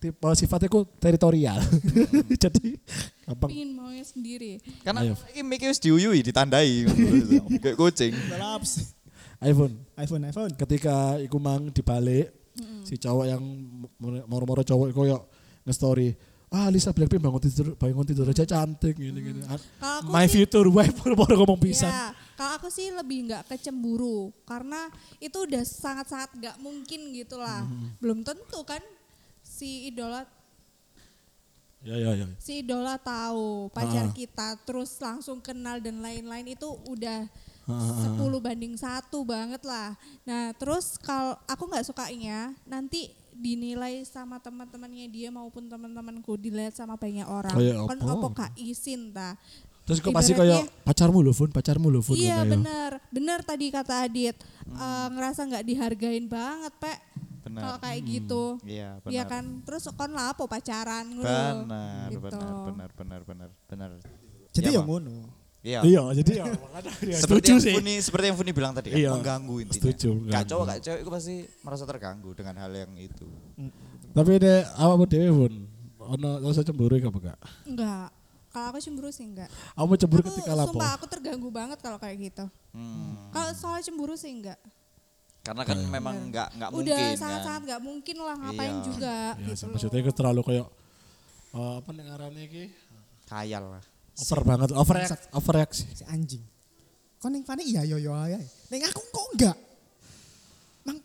Speaker 3: tipe sifatnya ku teritorial. Jadi gampang.
Speaker 1: Pingin maunya sendiri.
Speaker 2: Karena
Speaker 3: Ayo.
Speaker 2: iki mikir wis diuyui, ditandai kayak kucing.
Speaker 4: Laps.
Speaker 3: iPhone.
Speaker 4: iPhone, iPhone.
Speaker 3: Ketika iku mang dibalik si cowok yang mo- moro-moro cowok iku yo nge-story Ah Lisa Blackpink bangun tidur, bangun tidur aja cantik gini-gini.
Speaker 1: Kalau
Speaker 3: Ah,
Speaker 1: Mm. aku
Speaker 3: My
Speaker 1: sih-
Speaker 3: future wife moro-moro ngomong pisan.
Speaker 1: Iya. Kalau aku sih lebih nggak kecemburu karena itu udah sangat-sangat nggak mungkin gitu lah.
Speaker 2: Hmm.
Speaker 1: Belum tentu kan si idola
Speaker 3: Ya ya ya.
Speaker 1: si idola tahu pacar
Speaker 3: Ah.
Speaker 1: kita terus langsung kenal dan lain-lain itu udah 10 banding satu banget lah. Nah terus kalau aku nggak sukanya nanti dinilai sama teman-temannya dia maupun teman-temanku dilihat sama banyak orang.
Speaker 3: Kayak
Speaker 1: Kan
Speaker 3: apa?
Speaker 1: opo gak isin ta.
Speaker 3: Terus kok pasti
Speaker 1: Ibaratnya-
Speaker 3: kayak pacarmu lho, Fun, pacarmu lho, Fun.
Speaker 1: Iya
Speaker 3: ngono ya.
Speaker 1: benar, benar tadi kata Adit. Eh, ngerasa nggak dihargain banget, Pak.
Speaker 2: Benar.
Speaker 1: Kalau kayak gitu.
Speaker 2: Nah, Iya, benar.
Speaker 1: Iya kan, terus kon lah apa pacaran ngono.
Speaker 2: Benar,
Speaker 1: Gitu.
Speaker 2: benar, benar, benar, benar, benar.
Speaker 4: Jadi
Speaker 2: Iya,
Speaker 4: ya
Speaker 2: Bang.
Speaker 4: ngono.
Speaker 2: Iya.
Speaker 3: Iya, jadi ya makanya ya,
Speaker 2: Seperti
Speaker 3: setuju
Speaker 2: yang
Speaker 3: sih.
Speaker 2: Funi, seperti yang Funi bilang tadi, kan,
Speaker 3: Iya.
Speaker 2: mengganggu intinya.
Speaker 3: Setuju,
Speaker 2: Gak
Speaker 3: mengganggu.
Speaker 2: cowok, gak cewek itu pasti merasa terganggu dengan hal yang itu.
Speaker 3: Tapi ini awakmu dhewe, Fun. Ono rasa cemburu apa enggak?
Speaker 1: Enggak. Kalau aku cemburu sih enggak.
Speaker 3: Kamu cemburu
Speaker 1: Aku,
Speaker 3: ketika lapo?
Speaker 1: Sumpah aku terganggu banget kalau kayak gitu.
Speaker 2: Hmm.
Speaker 1: Kalau soal cemburu sih enggak.
Speaker 2: Karena kan
Speaker 3: Iya.
Speaker 2: memang nggak nggak mungkin.
Speaker 1: Iya. Udah
Speaker 2: kan.
Speaker 1: sangat-sangat enggak mungkin lah ngapain
Speaker 2: Iya.
Speaker 1: juga
Speaker 3: Ya,
Speaker 1: gitu.
Speaker 3: maksudnya itu terlalu kayak eh, apa nih ngarannya iki?
Speaker 2: Khayal lah.
Speaker 3: Over banget, overreact, overreaksi.
Speaker 4: Si anjing. Kok neng Fani iya yo yo ae. Neng aku kok enggak. Mang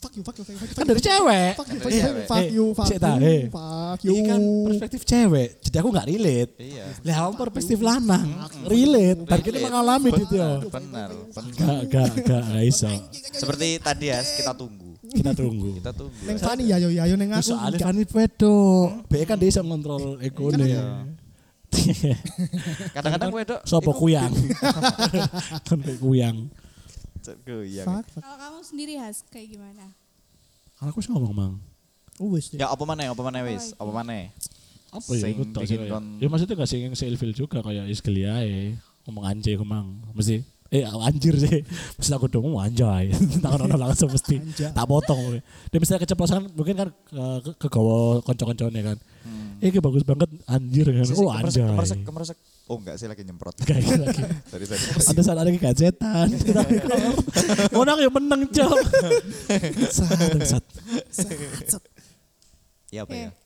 Speaker 4: fuck you fuck you fuck you.
Speaker 3: Kan
Speaker 4: Fuck you.
Speaker 3: dari cewek.
Speaker 4: Fuck
Speaker 2: Kan
Speaker 4: you, fuck
Speaker 2: dari
Speaker 4: you,
Speaker 2: cewek.
Speaker 4: fuck you,
Speaker 3: Eh,
Speaker 4: fuck
Speaker 3: cek tak, eh.
Speaker 4: you, fuck you.
Speaker 3: Ini kan perspektif cewek, jadi aku nggak relate.
Speaker 2: Iya.
Speaker 3: Lah, kamu perspektif lanang, relate. Dan kita
Speaker 2: Relate.
Speaker 3: mengalami itu ya.
Speaker 2: Benar, benar.
Speaker 3: Gak, gak, gak, gak iso.
Speaker 4: Iya,
Speaker 2: Seperti tadi ya, kita tunggu.
Speaker 3: Kita tunggu.
Speaker 2: Kita tunggu.
Speaker 4: Neng Fani iya yo yo neng
Speaker 3: Terus
Speaker 4: aku.
Speaker 3: soalnya
Speaker 4: enggak.
Speaker 3: kan ini pedo, BE kan dia bisa ngontrol ekone.
Speaker 2: Kadang-kadang gue dok.
Speaker 3: Sopo kuyang. Kan kayak kuyang.
Speaker 2: Ya,
Speaker 4: Fuck fuck.
Speaker 1: Kalau kamu sendiri Has kayak gimana?
Speaker 3: Kan aku sih ngomong mang.
Speaker 4: Wes deh.
Speaker 2: ya apa mana, apa mana wis, apa mana.
Speaker 3: Apa ya
Speaker 2: Sing
Speaker 3: ikut tak sih
Speaker 2: bikin
Speaker 3: kayak.
Speaker 2: kon-
Speaker 3: Ya maksudnya gak sih yang seilfil juga kayak is geliae. Ngomong anjir ke mang. Mesti eh anjir sih. Mesti aku dong ngomong anjay. Tangan ono langsung mesti
Speaker 4: Anjay.
Speaker 3: tak potong. Dia misalnya keceplosan mungkin kan eh, ke kegawa kanca-kancane kan. Eh iki bagus banget anjir kan.
Speaker 2: Sisi,
Speaker 3: Oh
Speaker 2: Hmm. kemeresek,
Speaker 3: anjay.
Speaker 2: kemeresek, kemeresek. Oh enggak sih lagi nyemprot.
Speaker 3: Kayak gitu lagi.
Speaker 2: Tadi tadi.
Speaker 3: Ada saat lagi gajetan. Orang yang menang cok. Sat, sat.
Speaker 2: Ya apa ya?
Speaker 1: Oke.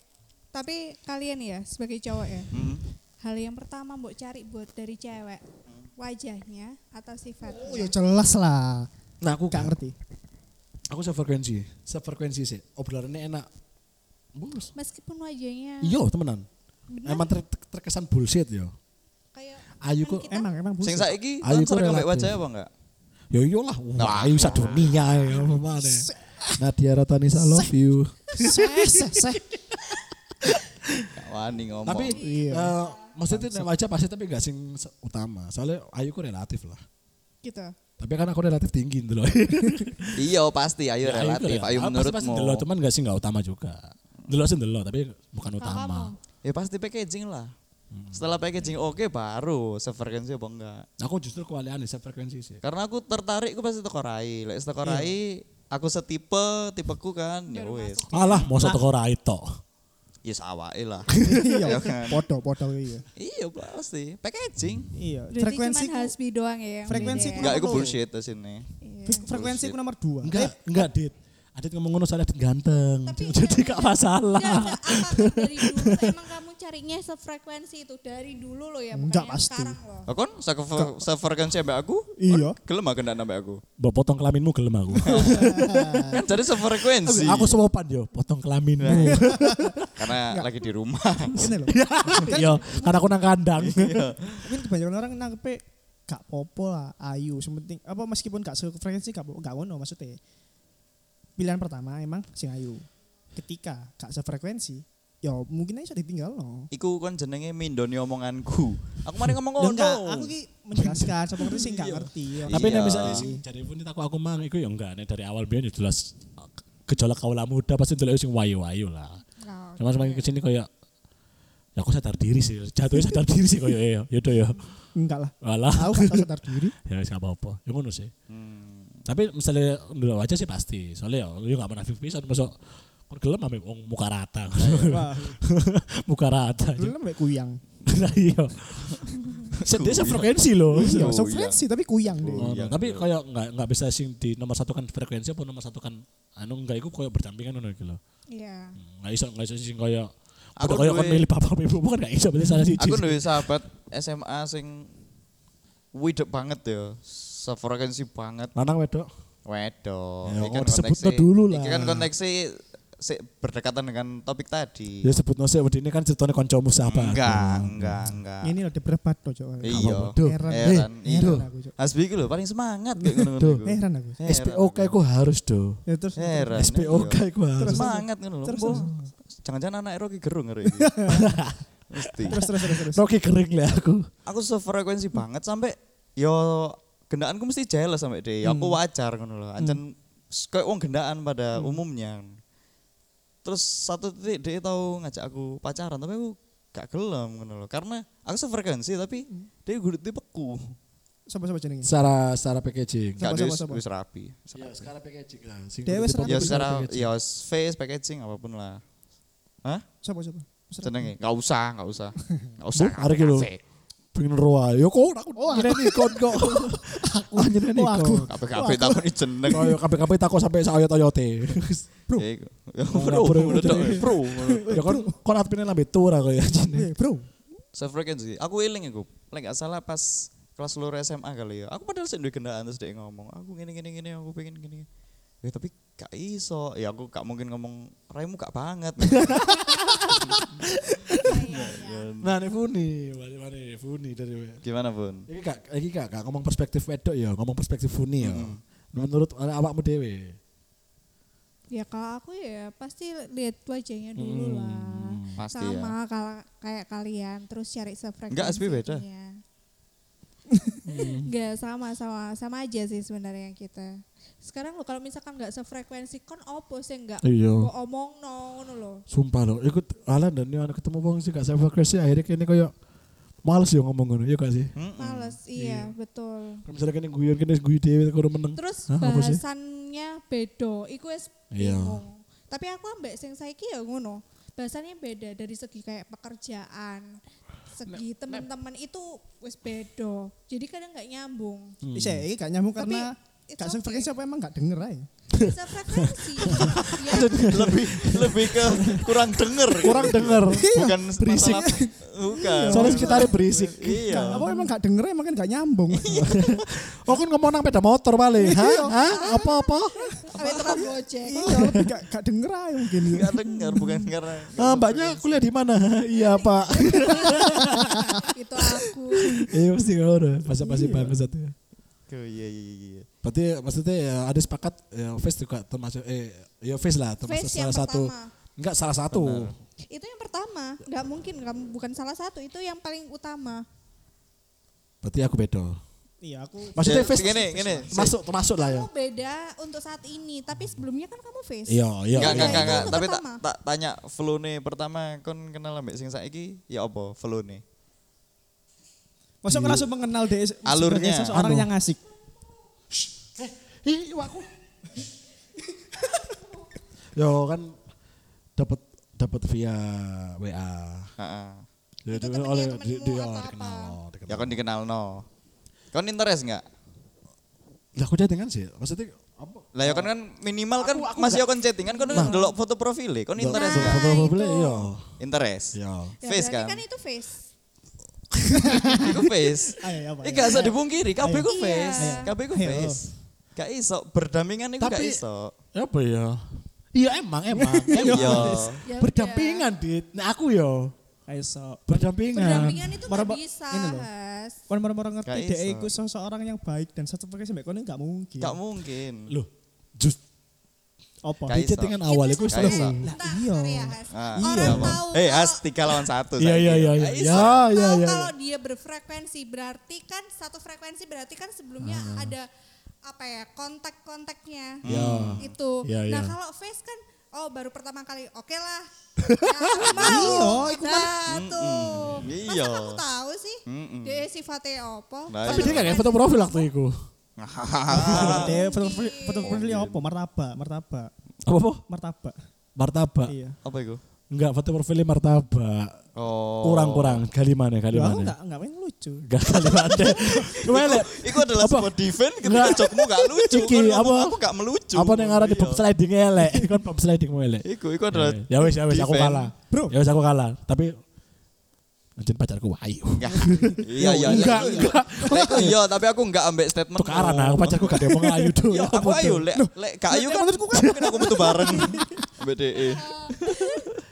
Speaker 1: Tapi kalian ya sebagai cowok ya,
Speaker 2: Hmm.
Speaker 1: hal yang pertama mbok cari buat dari cewek wajahnya atau sifatnya.
Speaker 4: Oh ya jelas lah.
Speaker 3: Nah aku
Speaker 4: Gak ngerti.
Speaker 3: Aku sefrekuensi. Sefrekuensi sih. Obrolannya enak. Mulus.
Speaker 1: Meskipun wajahnya
Speaker 3: Iya temenan.
Speaker 1: benar
Speaker 3: Emang ter- ter- terkesan bullshit yo.
Speaker 1: kayak
Speaker 3: Ayu
Speaker 1: kan
Speaker 3: kok-
Speaker 1: kita
Speaker 4: Emang emang
Speaker 2: Sing
Speaker 4: bullshit.
Speaker 2: saiki
Speaker 3: Ayu
Speaker 2: lancar
Speaker 3: ku
Speaker 2: kambek
Speaker 3: relatif.
Speaker 2: wajahnya apa enggak?
Speaker 3: Yo yo lah. Wah, ayu sadunia ya mana. Nadia Ratanisa love you.
Speaker 4: Seh, seh, seh.
Speaker 2: Gak wani ngomong.
Speaker 3: Tapi
Speaker 4: Iya.
Speaker 3: eh, maksudnya nek wajah pasti tapi gak sing se- utama. Soalnya ayu ku relatif lah.
Speaker 1: gitu.
Speaker 3: Tapi kan aku relatif tinggi gitu loh.
Speaker 2: iya pasti
Speaker 3: Ya,
Speaker 2: ayo relatif, ayo
Speaker 3: Ah, Pasti
Speaker 2: menurutmu.
Speaker 3: delok cuman gak sih gak utama juga. Delok sih delok tapi bukan
Speaker 1: kamu?
Speaker 3: utama.
Speaker 2: Ya pasti packaging lah.
Speaker 3: Hmm.
Speaker 2: Setelah packaging oke baru sefrekuensi apa enggak.
Speaker 3: Aku justru kualian sefrekuensi sih.
Speaker 2: Karena aku tertarik aku pasti teko Rai. Lek teko
Speaker 3: Iya.
Speaker 2: Rai aku setipe, tipeku kan ya wis.
Speaker 3: Alah, mau satu Eh, korai tok.
Speaker 2: Ya sawake lah.
Speaker 4: Iya,
Speaker 2: Iya kan.
Speaker 4: podo podo iya.
Speaker 2: Iya pasti, packaging.
Speaker 4: Iya,
Speaker 1: Berarti
Speaker 4: frekuensi
Speaker 1: cuman Hasbi doang ya. yang
Speaker 4: frekuensi
Speaker 1: beda.
Speaker 4: ku-
Speaker 2: Enggak itu
Speaker 4: Kenapa?
Speaker 2: bullshit di sini.
Speaker 1: Iya.
Speaker 4: frekuensi ku nomor dua.
Speaker 3: Enggak, enggak, Dit. Adit ngomong ngono soalnya Adit ganteng.
Speaker 1: Tapi-
Speaker 3: Jadi gak masalah.
Speaker 1: Enggak, apakah dari dulu tuh emang kamu carinya sefrekuensi itu dari dulu loh ya, bukan
Speaker 4: Enggak,
Speaker 1: yang
Speaker 4: pasti.
Speaker 1: sekarang loh.
Speaker 2: Lah kon sefe- sefrekuensi ambek aku?
Speaker 4: Iya.
Speaker 2: Kon Gelem aku ndak nambah aku.
Speaker 3: Mbok potong kelaminmu gelem aku.
Speaker 2: Kan jadi sefrekuensi.
Speaker 3: Eh. aku sopan yo, potong kelaminmu.
Speaker 2: Karena lagi di rumah.
Speaker 4: kan? Ini loh.
Speaker 2: Iya.
Speaker 3: yo, karena aku nang kandang.
Speaker 4: Mungkin kebanyakan orang nangkepnya gak popo lah, ayu. Sementing apa meskipun gak sefrekuensi gak popo, gak ngono maksudnya. Pilihan pertama emang sing ayu. Ketika gak sefrekuensi, ya mungkin aja ditinggal no.
Speaker 2: Iku kon jenenge mindoni omonganku. Aku mari ngomong
Speaker 4: Loh,
Speaker 2: ngono.
Speaker 4: enggak, aku ki menjelaskan, sapa ngerti sing gak ngerti. ya.
Speaker 3: Tapi
Speaker 2: Oh, Iya.
Speaker 3: nek misalnya sing jare pun aku aku mang iku yo enggak nek dari awal biyen yo jelas eh, gejolak kaula muda pasti delok sing wayu-wayu lah.
Speaker 1: Nah,
Speaker 3: Cuma semakin kesini kayak ya aku sadar diri sih, jatuhnya sadar diri sih kayak ya, yaudah ya.
Speaker 4: Enggak lah.
Speaker 3: Walah.
Speaker 4: Aku gak tau sadar diri.
Speaker 3: ya wis gak apa-apa ya ngono sih tapi misalnya ndelok aja sih pasti soalnya ya yo gak menafik pisan masuk kon gelem ame wong muka rata
Speaker 4: Wah,
Speaker 3: muka rata
Speaker 4: dulu namanya kuyang.
Speaker 3: nah iya sedih sefrekuensi loh
Speaker 4: Iya,
Speaker 2: Kuyang.
Speaker 4: sefrekuensi tapi kuyang deh.
Speaker 3: Oh,
Speaker 2: Iya.
Speaker 3: tapi kayak nggak nggak bisa sing di nomor satu kan frekuensi apa nomor satu kan anu nggak ikut kayak berdampingan ngono iki lho
Speaker 1: Iya.
Speaker 3: nggak iso nggak iso sing kayak
Speaker 2: Aku
Speaker 3: aku kayak kon
Speaker 2: duwe-
Speaker 3: milih bapak ibu kan nggak iso milih salah siji
Speaker 2: Aku duwe sahabat SMA sing widek banget ya, sefrekuensi banget.
Speaker 3: lanang wedok
Speaker 2: Wedok.
Speaker 3: Ya,
Speaker 2: Iki kan
Speaker 3: oh, disebut
Speaker 2: konteksnya-
Speaker 3: tuh dulu lah.
Speaker 2: Iki kan konteksi se- berdekatan dengan topik tadi.
Speaker 3: Ya sebut nose ini kan ceritanya koncomu siapa?
Speaker 2: Enggak, enggak, enggak.
Speaker 4: Ini loh debat tuh cok.
Speaker 2: Iya.
Speaker 3: Duh,
Speaker 4: Heran,
Speaker 2: heran, iya.
Speaker 4: heran aku cok.
Speaker 2: Hasbi iki lho paling semangat kayak ngono
Speaker 3: Duh.
Speaker 2: iku.
Speaker 4: Heran aku.
Speaker 2: Heran.
Speaker 3: SPOK ku harus do.
Speaker 4: Ya, terus
Speaker 2: Heran.
Speaker 3: SPOK
Speaker 2: iya.
Speaker 3: ku harus.
Speaker 2: Semangat ngono lho.
Speaker 4: Terus,
Speaker 2: Mbok,
Speaker 4: terus.
Speaker 2: Jangan-jangan anak Rocky gerung ngeri. iki. Mesti.
Speaker 4: terus terus terus terus.
Speaker 3: Rocky kering lah aku.
Speaker 2: Aku sefrekuensi banget sampai yo gendaanku mesti jelas sampai deh. Ya, Aku wajar ngono lho. Ancen s- kayak wong gendaan pada umumnya. Terus satu titik dia tahu ngajak aku pacaran tapi aku gak gelem ngono lho. Karena aku sefrekuensi tapi dia gue peku.
Speaker 4: Sopo sopo jenenge?
Speaker 3: Secara secara packaging.
Speaker 2: Gak
Speaker 4: Sapa,
Speaker 2: dia
Speaker 4: sapa,
Speaker 2: wis
Speaker 4: sapa?
Speaker 2: wis rapi.
Speaker 3: Ya secara packaging lah.
Speaker 4: Dewe seratus.
Speaker 2: Ya
Speaker 4: Apa
Speaker 2: secara ya face packaging apapun lah. Hah?
Speaker 4: Sopo sopo?
Speaker 2: Senenge? Enggak usah, enggak usah. Enggak usah.
Speaker 3: Bu, hari iki lho. pengen roa. Ya kok aku
Speaker 4: Oh, aku.
Speaker 3: nyireni kon kok. Aku nyireni
Speaker 4: Oh, aku.
Speaker 3: kon.
Speaker 2: Kabeh-kabeh takoni jeneng.
Speaker 3: Kaya kabeh-kabeh takut sampai sayot-ayote.
Speaker 4: Bro.
Speaker 2: Ya iku. Ya,
Speaker 3: Ora,
Speaker 2: Bro,
Speaker 3: bro,
Speaker 2: ngono tok,
Speaker 3: bener.
Speaker 2: bro.
Speaker 3: Ya kon kon atpine lambe tur aku ya
Speaker 4: Eh,
Speaker 3: jine.
Speaker 4: Bro.
Speaker 2: Sefrekuensi. Aku eling iku. Lek gak salah pas kelas lur SMA kali ya. Aku padahal sik duwe gendaan terus dia ngomong, aku ngene ngene ngene, aku pengen gini. Ya tapi gak iso. Ya aku gak mungkin ngomong raimu gak banget.
Speaker 3: Nah, ini Funi, balik-balik Funi dari we.
Speaker 2: Gimana, Bun?
Speaker 3: Iki gak iki gak, gak ngomong perspektif wedok ya, ngomong perspektif Funi ya.
Speaker 4: Hmm.
Speaker 3: Menurut awakmu dhewe.
Speaker 1: Ya kalau aku ya pasti lihat wajahnya dulu
Speaker 3: Hmm,
Speaker 1: lah.
Speaker 2: Pasti ya.
Speaker 1: Sama kal- kayak kalian terus cari sefrekuensi.
Speaker 2: Enggak, Asbi beda.
Speaker 1: ininya. Enggak sama sama sama aja sih sebenarnya kita. Sekarang lo kalau misalkan enggak sefrekuensi kon opo sih enggak
Speaker 3: Iya.
Speaker 1: kok omong no ngono lho.
Speaker 3: Sumpah loh, ikut alan dan ini ketemu wong sih gak saya progresi akhirnya kene koyo males ya ngomong ngono, ya gak sih?
Speaker 2: Mm-mm.
Speaker 1: Males iya, betul.
Speaker 3: Kalau misalnya kene guyon kene guyu dhewe kudu meneng.
Speaker 1: Terus
Speaker 3: Hah, apa sih?
Speaker 1: bahasannya bedo, iku wis
Speaker 3: Iya.
Speaker 1: bingung. Tapi aku ambek sing saiki ya ngono. Bahasannya beda dari segi kayak pekerjaan, segi teman-teman itu wis bedo. Jadi kadang nggak nyambung.
Speaker 4: Bisa iki gak nyambung
Speaker 1: Tapi,
Speaker 4: karena
Speaker 1: it's
Speaker 4: gak
Speaker 1: okay.
Speaker 4: frekuensi apa emang gak denger ae.
Speaker 1: Bisa frekuensi. ya,
Speaker 2: lebih lebih ke kurang denger.
Speaker 3: Kurang denger.
Speaker 2: bukan
Speaker 3: berisik.
Speaker 2: masalah- bukan
Speaker 3: Soalnya sekitarnya berisik.
Speaker 2: iya
Speaker 4: Gak- Apa emang gak denger ae makin gak nyambung.
Speaker 3: Oh kan ngomong nang peda motor
Speaker 1: Iya.
Speaker 3: paling. Hah? Hah? Apa-apa?
Speaker 1: awet tukang gojek.
Speaker 4: Iya, tapi gak gak denger ae mungkin.
Speaker 2: nggak dengar bukan karena
Speaker 3: Ah, mbaknya kuliah di mana? iya, Pak.
Speaker 1: itu aku.
Speaker 3: Iya pasti ngono. Masa-masa
Speaker 1: Iya.
Speaker 3: bangsat. ya.
Speaker 2: oh, iya iya iya
Speaker 3: Berarti maksudnya ya ada sepakat ya face juga termasuk eh ya face lah termasuk
Speaker 1: Face yang
Speaker 3: salah satu.
Speaker 1: pertama.
Speaker 3: Enggak salah satu.
Speaker 2: Benar.
Speaker 1: Itu yang pertama. Nggak mungkin kamu bukan salah satu. Itu yang paling utama.
Speaker 3: Berarti aku beda.
Speaker 4: Iya, aku
Speaker 3: Maksudnya
Speaker 2: Ya,
Speaker 3: face
Speaker 2: gini, gini.
Speaker 3: Masuk termasuk lah ya.
Speaker 1: Kamu beda untuk saat ini. Tapi sebelumnya kan kamu face.
Speaker 3: Iya, iya.
Speaker 1: iya,
Speaker 2: Enggak, enggak,
Speaker 1: itu
Speaker 2: enggak, enggak.
Speaker 1: yang
Speaker 2: Tapi tak
Speaker 1: pertama.
Speaker 2: tak tanya Flone pertama kon kenal ambek sing saiki ya apa Flone?
Speaker 4: Masa aku langsung mengenal dia se-
Speaker 2: Alurnya.
Speaker 4: sebagai seseorang
Speaker 3: Anu.
Speaker 4: yang asik.
Speaker 3: Ih, aku. Yo kan dapat dapat via WA.
Speaker 2: Heeh.
Speaker 3: Ya,
Speaker 1: Itu
Speaker 3: di-
Speaker 1: temennya,
Speaker 3: oleh
Speaker 1: temenmu
Speaker 3: di, di,
Speaker 1: atau
Speaker 3: oh,
Speaker 1: apa?
Speaker 3: dikenal, dikenal.
Speaker 2: Ya kon dikenalno. Kon interest enggak?
Speaker 3: Lah aku chattingan sih. Maksudnya apa?
Speaker 2: Lah ya kon kan minimal kan masih kon chattingan kon kan ndelok foto profile, kon interest
Speaker 1: Nah.
Speaker 2: enggak?
Speaker 3: Nah. Iya. Foto
Speaker 1: itu.
Speaker 3: profile iya.
Speaker 2: Interest.
Speaker 3: Iya.
Speaker 1: Ya,
Speaker 2: Face
Speaker 1: berarti
Speaker 2: kan.
Speaker 1: kan itu face.
Speaker 2: Iku face.
Speaker 3: Iya.
Speaker 4: Ayo, apa, ya?
Speaker 2: Eh
Speaker 4: ayo.
Speaker 2: gak usah dipungkiri, kabeh ku
Speaker 1: Iya. Ayo.
Speaker 2: face. Kabeh ku
Speaker 4: Ayo.
Speaker 2: face. Gak iso berdampingan iku gak
Speaker 3: Tapi-
Speaker 2: iso.
Speaker 3: Apa ya? Iya emang emang.
Speaker 2: Iya.
Speaker 3: emang.
Speaker 1: Ya
Speaker 3: Berdampingan dit. Nah aku yo
Speaker 4: Ayo sok.
Speaker 3: berdampingan.
Speaker 1: Berdampingan itu nggak
Speaker 4: Marah, Pak.
Speaker 1: bisa.
Speaker 4: Ini loh.
Speaker 1: Has.
Speaker 4: Kan orang-orang
Speaker 2: Gak
Speaker 4: ngerti dia
Speaker 2: iso.
Speaker 4: itu seseorang yang baik dan satu frekuensi mbak kono gak mungkin.
Speaker 3: Iya.
Speaker 2: Gak mungkin.
Speaker 3: Loh, just
Speaker 4: Apa?
Speaker 2: Gak
Speaker 3: di
Speaker 2: iso.
Speaker 3: chattingan awal
Speaker 1: Itu
Speaker 3: iku
Speaker 2: Gak iso.
Speaker 3: seneng.
Speaker 1: sebenarnya-
Speaker 4: Lah,
Speaker 1: Bentar,
Speaker 4: iya.
Speaker 1: sorry ya, Has.
Speaker 2: Ah,
Speaker 1: Orang
Speaker 2: iya.
Speaker 1: tahu
Speaker 2: Eh,
Speaker 1: kalau-
Speaker 2: As tiga lawan satu.
Speaker 3: Iya
Speaker 2: saya
Speaker 3: iya
Speaker 2: kira.
Speaker 3: iya iya.
Speaker 2: Gak iso.
Speaker 3: Ya ya
Speaker 1: tahu
Speaker 3: ya.
Speaker 1: kalau dia berfrekuensi berarti kan satu frekuensi berarti kan sebelumnya ada apa ya kontak-kontaknya
Speaker 3: Ah. Ya.
Speaker 1: itu.
Speaker 3: Ya,
Speaker 1: nah
Speaker 3: ya.
Speaker 1: kalau face kan oh baru pertama kali oke lah. Ya, mau.
Speaker 4: iku kan-
Speaker 1: nah, tuh.
Speaker 2: Mm-mm.
Speaker 1: Masa
Speaker 2: Iya.
Speaker 1: aku tahu sih?
Speaker 2: Mm-mm.
Speaker 1: Dia sifatnya apa?
Speaker 2: Nah,
Speaker 3: Tapi dia gak kayak foto profil waktu itu. Iya.
Speaker 4: Dia foto foto profilnya apa? Martabak, martabak,
Speaker 3: Apa apa?
Speaker 4: martabak.
Speaker 3: Martabak.
Speaker 4: Iya.
Speaker 2: Apa itu?
Speaker 3: Enggak foto profilnya martabak.
Speaker 2: Oh.
Speaker 3: Kurang kurang. Galimane
Speaker 4: Loh, aku
Speaker 3: galimane.
Speaker 4: gak gak main lucu.
Speaker 3: Enggak galimane. Kemana?
Speaker 2: Iku adalah
Speaker 3: Apa?
Speaker 2: sebuah defense ketika
Speaker 3: Enggak.
Speaker 2: jokmu gak lucu.
Speaker 3: Iki,
Speaker 2: Kon ngomong,
Speaker 3: apa?
Speaker 2: Aku gak melucu.
Speaker 3: Apa yang ngarani
Speaker 2: Iya.
Speaker 3: bob sliding elek? Kan bob sliding mu elek.
Speaker 2: Iku, iku adalah
Speaker 3: Ya wes ya wes aku
Speaker 2: defense.
Speaker 3: kalah.
Speaker 4: Bro.
Speaker 3: Ya wes aku kalah. Tapi anjir pacarku ayo.
Speaker 2: Enggak. Iya, iya.
Speaker 3: Enggak,
Speaker 2: Lek-
Speaker 3: enggak.
Speaker 2: Lek aku iya, tapi aku enggak ambek statement.
Speaker 3: Tukaran ah,
Speaker 2: Ya,
Speaker 3: aku pacarku gak ada yang mau Ya ayu tuh.
Speaker 2: Iya, aku ayo lek lek gak ayu kan menurutku kan mungkin aku metu bareng. BDE.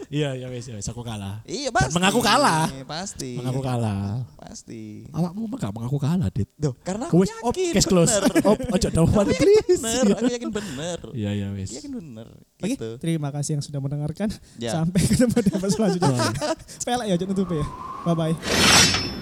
Speaker 3: Iya, ya wes, ya wes aku kalah.
Speaker 2: Iya pasti.
Speaker 3: Mengaku kalah.
Speaker 2: Iya, Pasti.
Speaker 3: Mengaku kalah.
Speaker 2: Pasti.
Speaker 3: Awakmu mah gak mengaku kalah, Dit.
Speaker 2: Duh, karena aku
Speaker 3: Wes,
Speaker 2: yakin
Speaker 3: op, case close.
Speaker 2: bener.
Speaker 3: Op, ojo dawan, please.
Speaker 2: bener, aku yakin bener.
Speaker 3: Iya, ya wes.
Speaker 2: Yakin bener.
Speaker 4: Oke,
Speaker 2: Gitu.
Speaker 4: terima kasih yang sudah mendengarkan.
Speaker 2: Ya.
Speaker 4: Sampai ketemu di episode selanjutnya. Pelek ya, jangan tutup ya. Bye-bye.